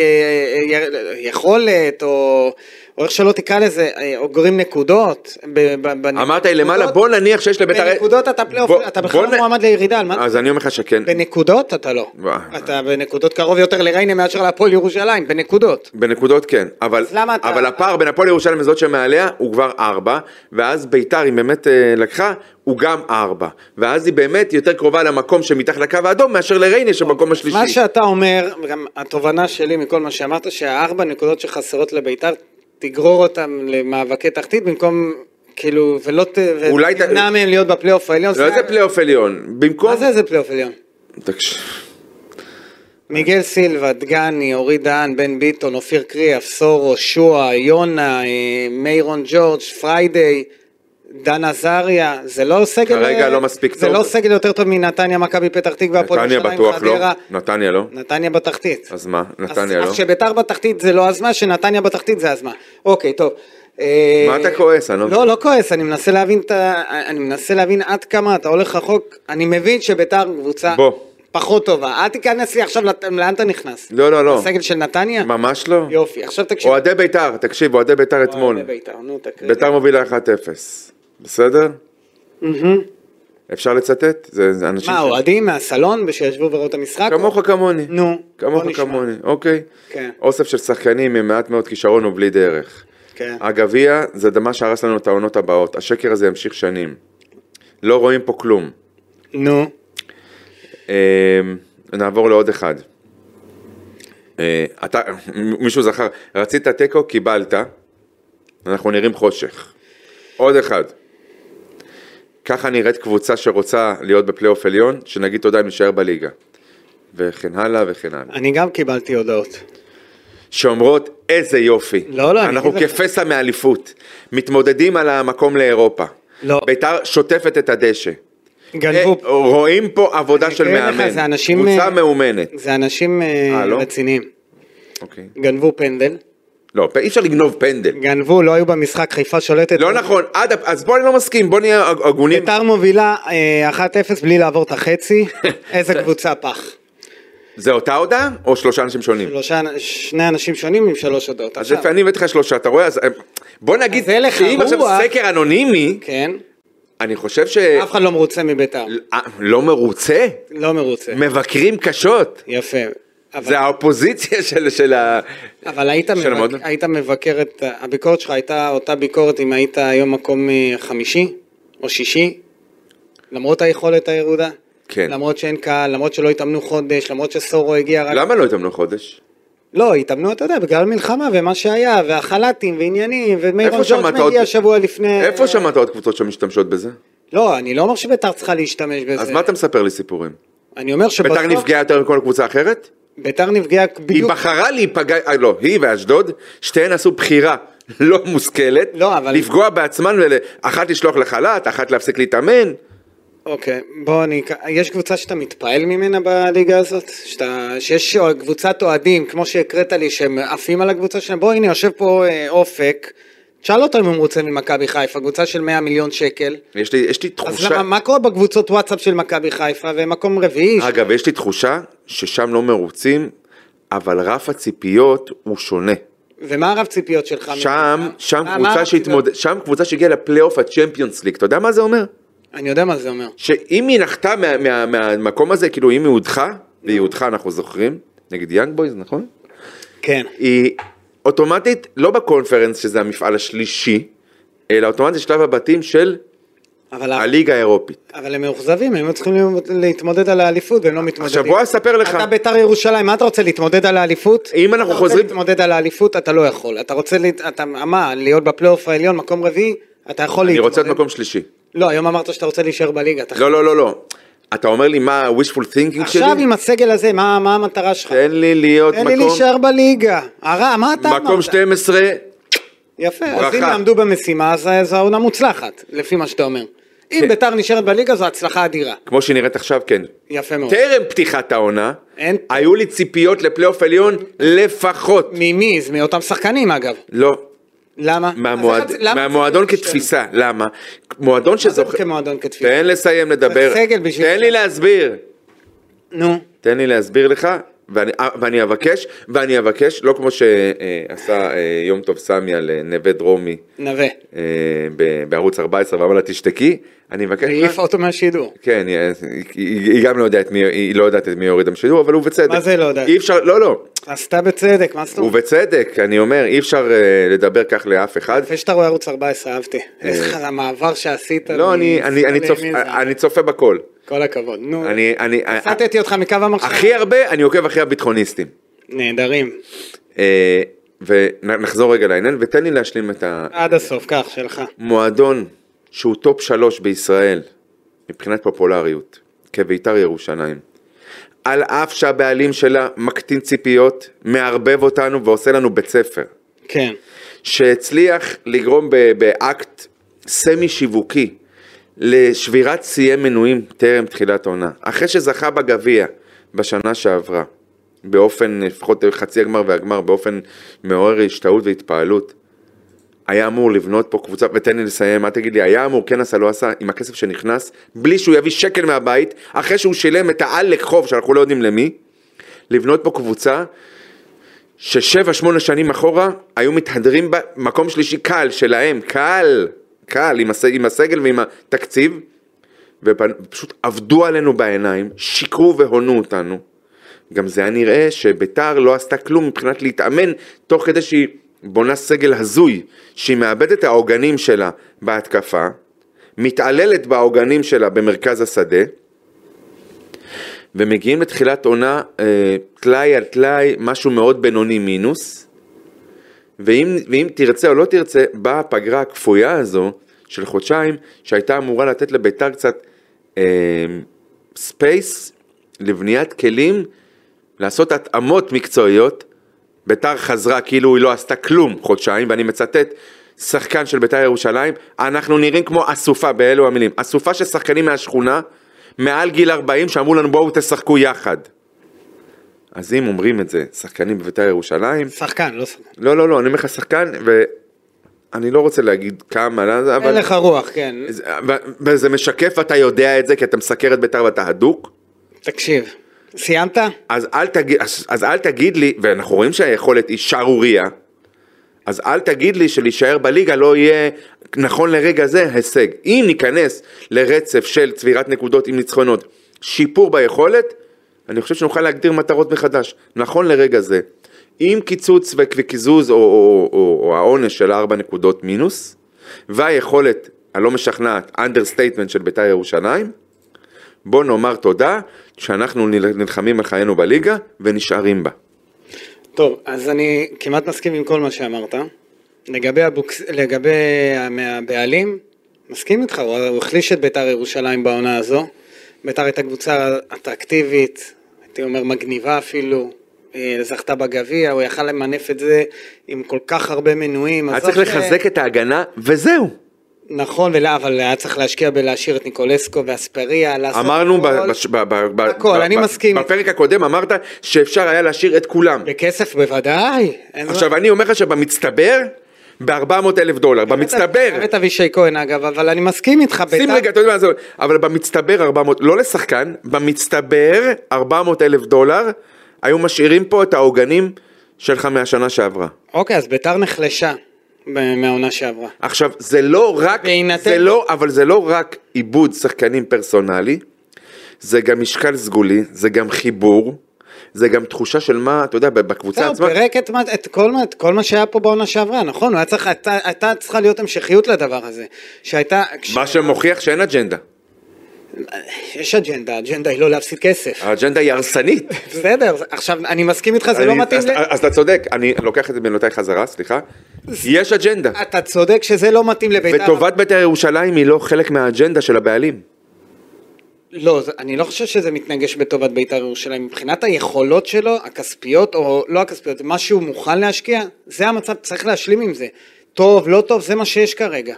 [SPEAKER 2] אה, יכולת, או, או איך שלא תקרא לזה, אה, אוגרים נקודות. ב- ב- בנק-
[SPEAKER 3] אמרת לי למעלה,
[SPEAKER 2] נקודות-
[SPEAKER 3] בוא נניח שיש לביתר...
[SPEAKER 2] בנקודות אתה פלייאוף,
[SPEAKER 3] בוא-
[SPEAKER 2] אתה בכלל
[SPEAKER 3] בוא
[SPEAKER 2] לא
[SPEAKER 3] נ-
[SPEAKER 2] מועמד לירידה, על מה?
[SPEAKER 3] אז אני אומר לך שכן,
[SPEAKER 2] בנקודות אתה לא.
[SPEAKER 3] וואי.
[SPEAKER 2] אתה בנקודות קרוב יותר לריינה מאשר להפועל ירושלים, בנקודות.
[SPEAKER 3] בנקודות כן, אבל,
[SPEAKER 2] אז למה אתה-
[SPEAKER 3] אבל הפער בין הפועל ירושלים לזאת שמעליה הוא כבר ארבע, ואז ביתר אם באמת אה, לקחה, הוא גם ארבע, ואז היא באמת יותר קרובה למקום שמתחת לקו האדום מאשר לריינה שבמקום השלישי. לא,
[SPEAKER 2] מה שאתה אומר, וגם התובנה שלי מכל מה שאמרת, שהארבע נקודות שחסרות לביתר, תגרור אותם למאבקי תחתית במקום, כאילו, ולא ת...
[SPEAKER 3] אולי ת-
[SPEAKER 2] תמנע מהם להיות בפלייאוף העליון.
[SPEAKER 3] לא איזה פלייאוף עליון, במקום...
[SPEAKER 2] מה זה איזה פלייאוף עליון?
[SPEAKER 3] תקשיב,
[SPEAKER 2] מיגל סילבה, דגני, אורי דהן, בן ביטון, אופיר קריאף, סורו, שועה, יונה, אה, מיירון ג'ורג', פריידי. דן עזריה, זה לא סגל...
[SPEAKER 3] כרגע לא מספיק
[SPEAKER 2] זה
[SPEAKER 3] טוב.
[SPEAKER 2] לא סגל יותר טוב מנתניה, מכבי פתח תקווה, הפועל
[SPEAKER 3] נתניה
[SPEAKER 2] ירושלים,
[SPEAKER 3] בטוח לא,
[SPEAKER 2] חדרה.
[SPEAKER 3] נתניה לא,
[SPEAKER 2] נתניה בתחתית.
[SPEAKER 3] אז מה,
[SPEAKER 2] אז-
[SPEAKER 3] נתניה לא.
[SPEAKER 2] אז כשביתר בתחתית זה לא אז מה, שנתניה בתחתית זה אז מה. אוקיי, טוב. אה,
[SPEAKER 3] מה אתה כועס? אני לא מבין.
[SPEAKER 2] לא, לא כועס, אני מנסה להבין את ה... אני מנסה להבין עד כמה אתה הולך רחוק. אני מבין שביתר קבוצה
[SPEAKER 3] בוא.
[SPEAKER 2] פחות טובה. אל תיכנס לי עכשיו, לת- לאן אתה נכנס?
[SPEAKER 3] לא, לא, לא,
[SPEAKER 2] לסגל של נתניה?
[SPEAKER 3] ממש לא.
[SPEAKER 2] יופי, עכשיו תקשיב.
[SPEAKER 3] אוהדי ביתר, תקשיב, אוהדי ביתר אתמול,
[SPEAKER 2] אוהדי ביתר, נו, תקריא.
[SPEAKER 3] ביתר מובילה 1-0, בסדר? אפשר לצטט? זה זה אנשים...
[SPEAKER 2] מה,
[SPEAKER 3] ש-
[SPEAKER 2] אוהדים מהסלון שישבו וראו את המשחק?
[SPEAKER 3] כמוך כמוני.
[SPEAKER 2] נו,
[SPEAKER 3] כמוך
[SPEAKER 2] בוא נשמע.
[SPEAKER 3] כמוני, אוקיי.
[SPEAKER 2] כן.
[SPEAKER 3] אוסף של שחקנים עם מעט מאוד כישרון ובלי דרך.
[SPEAKER 2] כן.
[SPEAKER 3] אה. הגביע זה מה שהרס לנו את העונות הבאות, השקר הזה ימשיך שנים. לא רואים פה כלום.
[SPEAKER 2] נו.
[SPEAKER 3] אה, נעבור לעוד אחד. אה, אתה, מ- מישהו זכר, רצית תיקו, קיבלת, אנחנו נראים חושך. עוד אחד. ככה נראית קבוצה שרוצה להיות בפלייאוף עליון, שנגיד תודה אם נשאר בליגה. וכן הלאה וכן הלאה.
[SPEAKER 2] אני גם קיבלתי הודעות.
[SPEAKER 3] אה, שאומרות איזה יופי.
[SPEAKER 2] לא, לא, אני
[SPEAKER 3] אנחנו
[SPEAKER 2] אגיד לך.
[SPEAKER 3] כפסע מאליפות. מתמודדים על המקום לאירופה.
[SPEAKER 2] לא.
[SPEAKER 3] ביתר שוטפת את הדשא.
[SPEAKER 2] גנבו.
[SPEAKER 3] אה, רואים פה עבודה
[SPEAKER 2] אני
[SPEAKER 3] של
[SPEAKER 2] אגיד לך,
[SPEAKER 3] מאמן.
[SPEAKER 2] זה אנשים,
[SPEAKER 3] קבוצה
[SPEAKER 2] אה,
[SPEAKER 3] מאומנת.
[SPEAKER 2] זה אנשים אה,
[SPEAKER 3] אה, לא?
[SPEAKER 2] רציניים.
[SPEAKER 3] אוקיי.
[SPEAKER 2] גנבו פנדל,
[SPEAKER 3] לא, אי אפשר לגנוב פנדל.
[SPEAKER 2] גנבו, לא היו במשחק, חיפה שולטת.
[SPEAKER 3] לא נכון, עד, הפ- אז בוא אני לא מסכים, בוא נהיה הג- הגונים.
[SPEAKER 2] ביתר מובילה אה, 1-0 בלי לעבור את החצי,
[SPEAKER 3] [laughs]
[SPEAKER 2] איזה קבוצה פח.
[SPEAKER 3] זה אותה הודעה או שלושה אנשים שונים?
[SPEAKER 2] שלושה, שני אנשים שונים עם שלוש הודעות.
[SPEAKER 3] אז
[SPEAKER 2] עכשיו,
[SPEAKER 3] לפעמים הבאתי לך שלושה, אתה רואה? אז אה, בוא נגיד,
[SPEAKER 2] אז אין לך
[SPEAKER 3] שאם עכשיו
[SPEAKER 2] רוח.
[SPEAKER 3] סקר אנונימי,
[SPEAKER 2] כן,
[SPEAKER 3] אני חושב ש...
[SPEAKER 2] אף אחד לא מרוצה מביתר,
[SPEAKER 3] אה, לא מרוצה?
[SPEAKER 2] לא מרוצה.
[SPEAKER 3] מבקרים קשות.
[SPEAKER 2] יפה. אבל-
[SPEAKER 3] זה האופוזיציה [laughs] של, של ה...
[SPEAKER 2] אבל היית,
[SPEAKER 3] של
[SPEAKER 2] מבק...
[SPEAKER 3] המועדון.
[SPEAKER 2] היית מבקר את, הביקורת שלך הייתה אותה ביקורת אם היית היום מקום אה, חמישי או שישי, למרות היכולת הירודה,
[SPEAKER 3] כן.
[SPEAKER 2] למרות שאין קהל, למרות שלא התאמנו חודש, למרות שסורו הגיע רק...
[SPEAKER 3] למה לא התאמנו חודש?
[SPEAKER 2] לא, התאמנו, אתה יודע, בגלל מלחמה ומה שהיה, והחל"תים ועניינים, ומירון
[SPEAKER 3] איפה שמעת
[SPEAKER 2] ג'ורג'
[SPEAKER 3] עוד-
[SPEAKER 2] מגיע שבוע לפני...
[SPEAKER 3] איפה שמעת עוד קבוצות שמשתמשות בזה?
[SPEAKER 2] לא, אני לא אומר שביתר צריכה להשתמש בזה.
[SPEAKER 3] אז מה אתה מספר לי סיפורים?
[SPEAKER 2] אני אומר שבסוף...
[SPEAKER 3] ביתר נפגעה יותר מכל קבוצה אחרת?
[SPEAKER 2] ביתר נפגעה
[SPEAKER 3] היא
[SPEAKER 2] בדיוק...
[SPEAKER 3] בחרה להיפגע, אה, לא, היא ואשדוד, שתיהן עשו בחירה [laughs] לא מושכלת,
[SPEAKER 2] לא, אבל-
[SPEAKER 3] לפגוע בעצמן, ול- אחת לשלוח לחל"ת, אחת להפסיק להתאמן,
[SPEAKER 2] אוקיי, בוא אני... יש קבוצה שאתה מתפעל ממנה בליגה הזאת? שאתה... שיש קבוצת אוהדים, כמו שהקראת לי, שהם עפים על הקבוצה שלהם? בוא, הנה, יושב פה אה, אופק, תשאל אותו אם הוא מרוצה ממכבי חיפה, קבוצה של 100 מיליון שקל.
[SPEAKER 3] יש לי, יש לי
[SPEAKER 2] אז
[SPEAKER 3] תחושה,
[SPEAKER 2] למה, מה קורה בקבוצות וואטסאפ של מכבי חיפה, והם מקום רביעי?
[SPEAKER 3] אגב, יש לי תחושה ששם לא מרוצים, אבל רף הציפיות הוא שונה.
[SPEAKER 2] ומה הרב ציפיות שלך?
[SPEAKER 3] שם,
[SPEAKER 2] ממנה? מה-
[SPEAKER 3] שם
[SPEAKER 2] מה הרב
[SPEAKER 3] קבוצה
[SPEAKER 2] ציפיות?
[SPEAKER 3] שהתמודד, שם קבוצה שהגיעה לפלייאוף הצ'מפיונס ליג, אתה יודע מה זה אומר?
[SPEAKER 2] אני יודע מה זה אומר.
[SPEAKER 3] שאם היא נחתה מה- מה- מהמקום הזה, כאילו אם היא הודחה, והיא הודחה אנחנו זוכרים, נגד יאנג בויז, נכון?
[SPEAKER 2] כן.
[SPEAKER 3] היא אוטומטית לא בקונפרנס שזה המפעל השלישי, אלא אוטומטית שלב הבתים של
[SPEAKER 2] אבל,
[SPEAKER 3] הליגה האירופית.
[SPEAKER 2] אבל הם מאוכזבים, הם היו צריכים להתמודד על האליפות והם לא מתמודדים.
[SPEAKER 3] עכשיו בוא אספר לך,
[SPEAKER 2] אתה ביתר ירושלים, מה אתה רוצה להתמודד על האליפות?
[SPEAKER 3] אם אנחנו
[SPEAKER 2] אתה
[SPEAKER 3] חוזרים-
[SPEAKER 2] רוצה להתמודד על האליפות, אתה לא יכול. אתה רוצה, להת- אתה, מה, להיות בפלייאוף העליון, מקום רביעי, אתה יכול
[SPEAKER 3] אני
[SPEAKER 2] להתמודד.
[SPEAKER 3] רוצה להיות מקום שלישי.
[SPEAKER 2] לא, היום אמרת שאתה רוצה להישאר בליגה. אתה...
[SPEAKER 3] לא לא לא לא, אתה אומר לי מה ה-wishful thinking שלי?
[SPEAKER 2] עכשיו עם הסגל הזה, מה, מה המטרה שלך?
[SPEAKER 3] תן לי להיות
[SPEAKER 2] תן לי
[SPEAKER 3] מקום,
[SPEAKER 2] להישאר בליגה. הרע, מה אתה אמרת?
[SPEAKER 3] מקום 12,
[SPEAKER 2] יפה, אז
[SPEAKER 3] ברכה.
[SPEAKER 2] אם יעמדו במשימה, אז זו העונה מוצלחת, לפי מה שאתה אומר. אם
[SPEAKER 3] כן.
[SPEAKER 2] ביתר נשארת בליגה, זו הצלחה אדירה.
[SPEAKER 3] כמו שהיא נראית עכשיו כן.
[SPEAKER 2] יפה מאוד.
[SPEAKER 3] טרם פתיחת העונה,
[SPEAKER 2] אה. אין-
[SPEAKER 3] היו לי ציפיות לפלייאוף עליון לפחות.
[SPEAKER 2] ממי? זה מאותם שחקנים אגב.
[SPEAKER 3] לא,
[SPEAKER 2] למה?
[SPEAKER 3] מהמועד-
[SPEAKER 2] אז אחד- למה צריך
[SPEAKER 3] מהמועדון
[SPEAKER 2] להשתמש?
[SPEAKER 3] כתפיסה, למה? מועדון
[SPEAKER 2] מה זה
[SPEAKER 3] שזוכר,
[SPEAKER 2] כמועדון כתפיסה?
[SPEAKER 3] תן לסיים לדבר,
[SPEAKER 2] צריך סגל בשביל
[SPEAKER 3] תן
[SPEAKER 2] זה.
[SPEAKER 3] לי להסביר.
[SPEAKER 2] נו.
[SPEAKER 3] תן לי להסביר לך, ואני, אה, ואני אבקש, ואני אבקש, לא כמו שעשה יום טוב סמי על אה, נווה דרומי
[SPEAKER 2] נווה.
[SPEAKER 3] אה, ב- בערוץ 14 ואמר לה תשתקי, אני מבקש,
[SPEAKER 2] העיף אותו מהשידור.
[SPEAKER 3] כן, היא, היא, היא גם לא יודעת מי, היא לא יודעת את מי הוריד המשידור, אבל הוא בצדק.
[SPEAKER 2] מה זה לא יודעת?
[SPEAKER 3] אי אפשר, לא, לא,
[SPEAKER 2] עשתה בצדק, מה זאת אומרת?
[SPEAKER 3] ובצדק, אני אומר, אי אפשר אה, לדבר כך לאף אחד.
[SPEAKER 2] יפה שאתה רואה ערוץ 14, אהבתי. איך המעבר שעשית.
[SPEAKER 3] אה. לא, אני, אני, אני, צופ,
[SPEAKER 2] לימין זה-
[SPEAKER 3] אני צופה בכל.
[SPEAKER 2] כל הכבוד. נו,
[SPEAKER 3] אני, אני, אה,
[SPEAKER 2] הסטתי אותך מקו המחשב.
[SPEAKER 3] הכי הרבה, אני עוקב אחרי הביטחוניסטים.
[SPEAKER 2] נהדרים.
[SPEAKER 3] אה, ונחזור רגע לעניין, ותן לי להשלים את
[SPEAKER 2] עד הסוף, כך, שלך.
[SPEAKER 3] המועדון שהוא טופ שלוש בישראל מבחינת פופולריות, כביתר ירושלים. על אף שהבעלים שלה מקטין ציפיות, מערבב אותנו ועושה לנו בית ספר.
[SPEAKER 2] כן.
[SPEAKER 3] שהצליח לגרום ב- באקט סמי שיווקי לשבירת שיאי מנויים טרם תחילת העונה. אחרי שזכה בגביע בשנה שעברה, באופן, לפחות חצי הגמר והגמר, באופן מעורר השתאות והתפעלות, היה אמור לבנות פה קבוצה, ותן לי לסיים, מה תגיד לי, היה אמור, כן עשה, לא עשה, עם הכסף שנכנס, בלי שהוא יביא שקל מהבית, אחרי שהוא שילם את העלק חוב שאנחנו לא יודעים למי, לבנות פה קבוצה ששבע, שמונה שנים אחורה היו מתהדרים בה, מקום שלישי קל שלהם, קל, קל, עם, הס, עם הסגל ועם התקציב, ופשוט עבדו עלינו בעיניים, שיקרו והונו אותנו. גם זה היה נראה שביתר לא עשתה כלום מבחינת להתאמן, תוך כדי שהיא בונה סגל הזוי, שהיא מאבדת את העוגנים שלה בהתקפה, מתעללת בעוגנים שלה במרכז השדה, ומגיעים לתחילת עונה אה, טלאי על טלאי, משהו מאוד בינוני מינוס. ואם, ואם תרצה או לא תרצה, באה הפגרה הכפויה הזו של חודשיים, שהייתה אמורה לתת לביתר קצת אה, ספייס לבניית כלים, לעשות התאמות מקצועיות. ביתר חזרה כאילו היא לא עשתה כלום חודשיים, ואני מצטט שחקן של ביתר ירושלים, אנחנו נראים כמו אסופה, באלו המילים, אסופה של שחקנים מהשכונה מעל גיל 40 שאמרו לנו בואו תשחקו יחד. אז אם אומרים את זה, שחקנים בבית"ר ירושלים,
[SPEAKER 2] שחקן, לא שחקן.
[SPEAKER 3] לא, לא, לא, אני אומר לך שחקן, ואני לא רוצה להגיד כמה, לא, זה,
[SPEAKER 2] אין
[SPEAKER 3] אבל...
[SPEAKER 2] לך רוח, כן.
[SPEAKER 3] זה- ו- וזה משקף, ואתה יודע את זה, כי אתה מסקר את בית"ר ואתה הדוק,
[SPEAKER 2] תקשיב, סיימת?
[SPEAKER 3] אז אל, תגיד, אז, אז אל תגיד לי, ואנחנו רואים שהיכולת היא שערורייה, אז אל תגיד לי שלהישאר בליגה לא יהיה, נכון לרגע זה, הישג. אם ניכנס לרצף של צבירת נקודות עם ניצחונות, שיפור ביכולת, אני חושב שנוכל להגדיר מטרות מחדש, נכון לרגע זה. עם קיצוץ ו- וקיזוז או, או, או, או העונש של ארבע נקודות מינוס, והיכולת הלא משכנעת, understatement של בית"ר ירושלים, בוא נאמר תודה שאנחנו נל- נלחמים על חיינו בליגה ונשארים בה.
[SPEAKER 2] טוב, אז אני כמעט מסכים עם כל מה שאמרת. לגבי, הבוקס... לגבי הבעלים, מסכים איתך, הוא הוא החליש את ביתר ירושלים בעונה הזו. ביתר הייתה קבוצה אטרקטיבית, הייתי אומר מגניבה אפילו, אה, זכתה בגביע, הוא יכל למנף את זה עם כל כך הרבה מנויים.
[SPEAKER 3] היה
[SPEAKER 2] אז
[SPEAKER 3] צריך
[SPEAKER 2] רק, אה,
[SPEAKER 3] לחזק את ההגנה וזהו.
[SPEAKER 2] נכון, ולא, אבל היה צריך להשקיע בלהשאיר את ניקולסקו ואספריה, לעשות
[SPEAKER 3] אמרנו ב-
[SPEAKER 2] הכל.
[SPEAKER 3] בש- ב- ב- ב-
[SPEAKER 2] הכל,
[SPEAKER 3] ב-
[SPEAKER 2] אני
[SPEAKER 3] ב-
[SPEAKER 2] מסכים.
[SPEAKER 3] בפרק הקודם אמרת שאפשר היה להשאיר את כולם.
[SPEAKER 2] בכסף בוודאי. אין-
[SPEAKER 3] עכשיו אני אומר לך שבמצטבר ב-400 אלף דולר, במצטבר.
[SPEAKER 2] באמת אבישי כהן אגב, אבל אני מסכים איתך,
[SPEAKER 3] שים רגע, אתה יודע מה זה, אבל במצטבר 400, לא לשחקן, במצטבר 400 אלף דולר, היו משאירים פה את העוגנים שלך מהשנה שעברה.
[SPEAKER 2] אוקיי, אז ביתר נחלשה ב- מהעונה שעברה.
[SPEAKER 3] עכשיו, זה לא רק,
[SPEAKER 2] בהינתן-
[SPEAKER 3] זה לא, אבל זה לא רק עיבוד שחקנים פרסונלי, זה גם משקל סגולי, זה גם חיבור, זה גם תחושה של מה, אתה יודע, בקבוצה
[SPEAKER 2] זהו,
[SPEAKER 3] עצמה,
[SPEAKER 2] פירק את, מה- את, כל, מה- את כל מה שהיה פה בעונה שעברה, נכון? הוא היה צריך, הייתה, הייתה צריכה להיות המשכיות לדבר הזה. שהייתה... כש-
[SPEAKER 3] מה שמוכיח שאין אג'נדה,
[SPEAKER 2] יש אג'נדה, האג'נדה היא לא להפסיד
[SPEAKER 3] [laughs]
[SPEAKER 2] כסף.
[SPEAKER 3] האג'נדה היא הרסנית.
[SPEAKER 2] בסדר, זה- עכשיו, אני מסכים איתך, [laughs] זה
[SPEAKER 3] אני-
[SPEAKER 2] לא מתאים
[SPEAKER 3] אז- אה-
[SPEAKER 2] ל...
[SPEAKER 3] אז אתה צודק, אני לוקח את מילותיי חזרה, סליחה, יש אג'נדה,
[SPEAKER 2] אתה צודק שזה לא מתאים לביתר.
[SPEAKER 3] וטובת בית"ר ירושלים היא לא חלק מהאג'נדה של הבעלים.
[SPEAKER 2] לא, זה- אני לא חושב שזה מתנגש בטובת בית"ר ירושלים. מבחינת היכולות שלו, הכספיות, או לא הכספיות, מה שהוא מוכן להשקיע, זה המצב, צריך להשלים עם זה. טוב, לא טוב, זה מה שיש כרגע.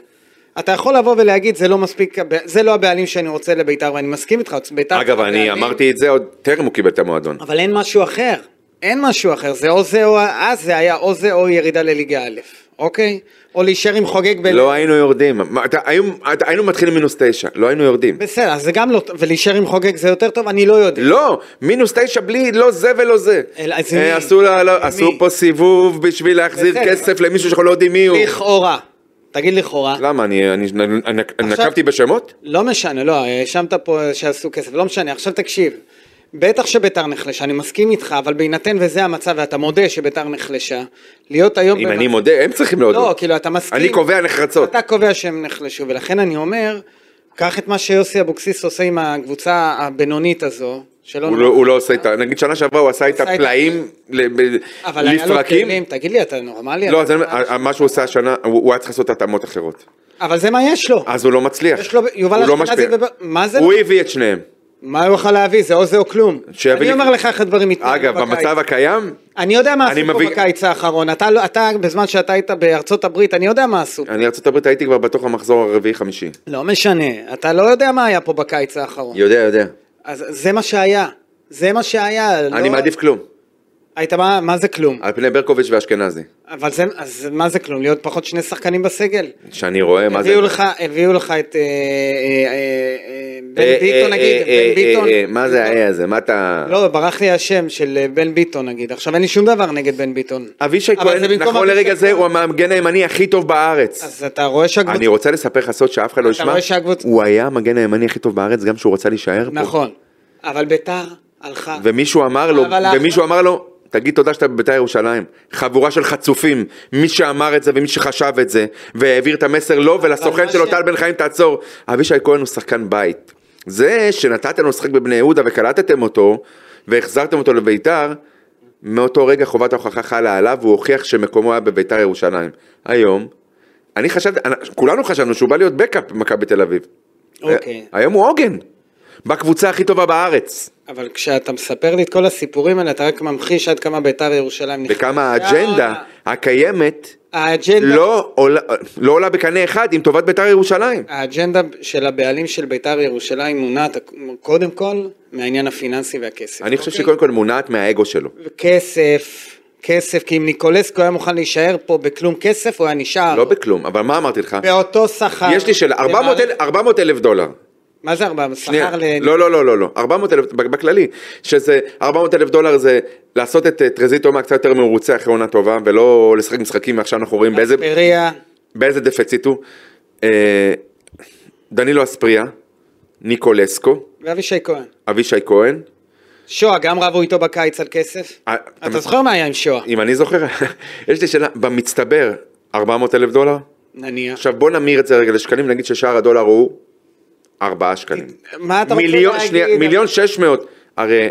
[SPEAKER 2] אתה יכול לבוא ולהגיד, זה לא מספיק, הב- זה לא הבעלים שאני רוצה לבית"ר, ואני מסכים איתך, בית"ר...
[SPEAKER 3] אגב, אני
[SPEAKER 2] הבעלים,
[SPEAKER 3] אמרתי את זה עוד טרם הוא קיבל את המועדון.
[SPEAKER 2] אבל אין משהו אחר. אין משהו אחר, זה או זה או... אז זה היה או זה או ירידה לליגה א', אוקיי? או להישאר עם חוגג ב...
[SPEAKER 3] לא היינו יורדים, מה, אתה- היו- אתה- היינו מתחילים מינוס תשע, לא היינו יורדים.
[SPEAKER 2] בסדר, אז זה גם לא... ולהישאר עם חוגג זה יותר טוב? אני לא יודע.
[SPEAKER 3] לא, מינוס תשע בלי לא זה ולא זה.
[SPEAKER 2] אל- אז
[SPEAKER 3] אה,
[SPEAKER 2] מי?
[SPEAKER 3] עשו, לה, לא,
[SPEAKER 2] מי?
[SPEAKER 3] עשו פה סיבוב בשביל להחזיר
[SPEAKER 2] בסדר.
[SPEAKER 3] כסף למישהו שאנחנו לא יודעים מי הוא.
[SPEAKER 2] לכאורה. תגיד לכאורה.
[SPEAKER 3] למה, אני, אני, אני, אני
[SPEAKER 2] עכשיו-
[SPEAKER 3] נקבתי בשמות?
[SPEAKER 2] לא משנה, לא, האשמת פה שעשו כסף, לא משנה, עכשיו תקשיב. בטח שביתר נחלשה, אני מסכים איתך, אבל בהינתן וזה המצב ואתה מודה שביתר נחלשה, להיות היום...
[SPEAKER 3] אם
[SPEAKER 2] במצב-
[SPEAKER 3] אני מודה, הם צריכים להודות.
[SPEAKER 2] לא, כאילו, אתה מסכים.
[SPEAKER 3] אני קובע נחרצות.
[SPEAKER 2] אתה קובע שהם נחלשו, ולכן אני אומר, קח את מה שיוסי אבוקסיס עושה עם הקבוצה הבינונית הזו, שלא...
[SPEAKER 3] הוא לא, הוא לא עושה את ה... נגיד שנה שעברה הוא עשה את
[SPEAKER 2] עשה את-
[SPEAKER 3] הפלאים ל- ב-
[SPEAKER 2] אבל היה לו
[SPEAKER 3] לפרקים.
[SPEAKER 2] כלים, תגיד לי, אתה נורמלי?
[SPEAKER 3] לא,
[SPEAKER 2] אתה-
[SPEAKER 3] אז אני אומר, מה שהוא עושה השנה, הוא הוא היה צריך לעשות התאמות אחרות.
[SPEAKER 2] אבל זה מה יש לו.
[SPEAKER 3] אז הוא לא מצליח.
[SPEAKER 2] יש לו- יובל
[SPEAKER 3] הוא לא
[SPEAKER 2] אשכנזי
[SPEAKER 3] משפיע.
[SPEAKER 2] בב- מה זה
[SPEAKER 3] הוא
[SPEAKER 2] לא-
[SPEAKER 3] הביא את שניהם.
[SPEAKER 2] מה הוא יכול להביא? זה או זה או כלום.
[SPEAKER 3] שיביא
[SPEAKER 2] אני
[SPEAKER 3] לי-
[SPEAKER 2] אומר לך איך הדברים מתנהלים
[SPEAKER 3] אגב, במצב הקיים,
[SPEAKER 2] אני יודע מה
[SPEAKER 3] אני
[SPEAKER 2] עשו פה
[SPEAKER 3] מביא-
[SPEAKER 2] בקיץ האחרון, אתה, לא- אתה בזמן שאתה היית בארצות הברית, אני יודע מה עשו.
[SPEAKER 3] אני ארה"ב הייתי כבר בתוך המחזור הרביעי-חמישי.
[SPEAKER 2] לא משנה, אתה לא יודע מה היה פה בקיץ האחרון.
[SPEAKER 3] יודע, יודע.
[SPEAKER 2] אז זה מה שהיה, זה מה שהיה.
[SPEAKER 3] אני
[SPEAKER 2] לא-
[SPEAKER 3] מעדיף כלום.
[SPEAKER 2] היית מה, מה זה כלום?
[SPEAKER 3] על פני ברקוביץ' ואשכנזי.
[SPEAKER 2] אבל זה, אז מה זה כלום? להיות פחות שני שחקנים בסגל?
[SPEAKER 3] שאני רואה מה זה...
[SPEAKER 2] הביאו לך, הביאו לך את אה, אה, אה, אה,
[SPEAKER 3] אה,
[SPEAKER 2] בן ביטון
[SPEAKER 3] אה,
[SPEAKER 2] נגיד,
[SPEAKER 3] אה, אה,
[SPEAKER 2] בן ביטון.
[SPEAKER 3] אה, אה, מה זה היה הזה? מה אתה...
[SPEAKER 2] לא, ברח לי השם של אה, בן ביטון נגיד. עכשיו אין לי שום דבר נגד בן ביטון.
[SPEAKER 3] אבישי
[SPEAKER 2] אבל זה
[SPEAKER 3] כהן,
[SPEAKER 2] במקום
[SPEAKER 3] נכון
[SPEAKER 2] אבישי
[SPEAKER 3] לרגע זה,
[SPEAKER 2] כהן.
[SPEAKER 3] הוא המגן הימני הכי טוב בארץ.
[SPEAKER 2] אז אתה רואה שהקבוצה...
[SPEAKER 3] אני רוצה לספר לך סוד שאף אחד לא
[SPEAKER 2] אתה
[SPEAKER 3] ישמע.
[SPEAKER 2] רואה שהקבוצ-
[SPEAKER 3] הוא היה המגן הימני הכי טוב בארץ גם כשהוא רצה להישאר פה.
[SPEAKER 2] נכון. אבל ביתר הלכה...
[SPEAKER 3] ומישהו אמר לו,
[SPEAKER 2] אבל
[SPEAKER 3] ומישהו אמר לו, תגיד תודה שאתה בבית"ר ירושלים. חבורה של חצופים. מי שאמר את זה ומי שחשב את זה, והעביר את המסר לו ולסוכן
[SPEAKER 2] מה
[SPEAKER 3] שלו,
[SPEAKER 2] ש-
[SPEAKER 3] טל בן חיים, תעצור. אבישי כהן הוא שחקן בית. זה שנתתם לו לשחק בבני יהודה וקלטתם אותו, והחזרתם אותו לבית"ר, מאותו רגע חובת ההוכחה חלה עליו, והוא הוכיח שמקומו היה בבית"ר ירושלים. היום, אני חשבתי, אנ- כולנו חשבנו שהוא בא להיות בקאפ במכבי תל אביב.
[SPEAKER 2] אוקיי.
[SPEAKER 3] היום הוא עוגן. בקבוצה הכי טובה בארץ.
[SPEAKER 2] אבל כשאתה מספר לי את [laughs] כל הסיפורים האלה, אתה רק ממחיש עד כמה ביתר ירושלים נכנסה.
[SPEAKER 3] וכמה האג'נדה הקיימת
[SPEAKER 2] לא, האג'נדה,
[SPEAKER 3] לא עולה- לא עולה בקנה אחד עם טובת בית"ר ירושלים.
[SPEAKER 2] האג'נדה של הבעלים של בית"ר ירושלים מונעת קודם כל מהעניין הפיננסי והכסף.
[SPEAKER 3] אני חושב
[SPEAKER 2] אוקיי?
[SPEAKER 3] שקודם כל מונעת מהאגו שלו.
[SPEAKER 2] כסף, כסף, כי אם ניקולסקו היה מוכן להישאר פה בכלום כסף, הוא היה נשאר.
[SPEAKER 3] לא בכלום, אבל מה אמרתי לך?
[SPEAKER 2] באותו שכר.
[SPEAKER 3] יש לי שאלה, 400 אלף- 400 אלף דולר.
[SPEAKER 2] מה זה 400?
[SPEAKER 3] שנייה,
[SPEAKER 2] שכר ל...
[SPEAKER 3] לא, לא, לא, לא, לא, 400 אלף, בכללי, שזה 400 אלף דולר זה לעשות את אה, טרזיטו מה קצת יותר מרוצה אחרי עונה טובה, ולא לשחק משחקים ועכשיו אנחנו רואים באיזה,
[SPEAKER 2] פריה,
[SPEAKER 3] באיזה דפציט הוא. אה, דנילו אספריה, ניקולסקו,
[SPEAKER 2] ואבישי כהן.
[SPEAKER 3] אבישי כהן,
[SPEAKER 2] שואה, גם רבו איתו בקיץ על כסף?
[SPEAKER 3] אה,
[SPEAKER 2] אתה זוכר מה היה עם שואה?
[SPEAKER 3] אם אני זוכר, יש לי שאלה, במצטבר 400 אלף דולר?
[SPEAKER 2] נניח.
[SPEAKER 3] עכשיו בוא נמיר את זה רגע לשקלים, נגיד ששער הדולר הוא 4 שקלים.
[SPEAKER 2] מה אתה רוצה
[SPEAKER 3] מיליון,
[SPEAKER 2] להגיד?
[SPEAKER 3] שנייה, מיליון שש מאות, הרי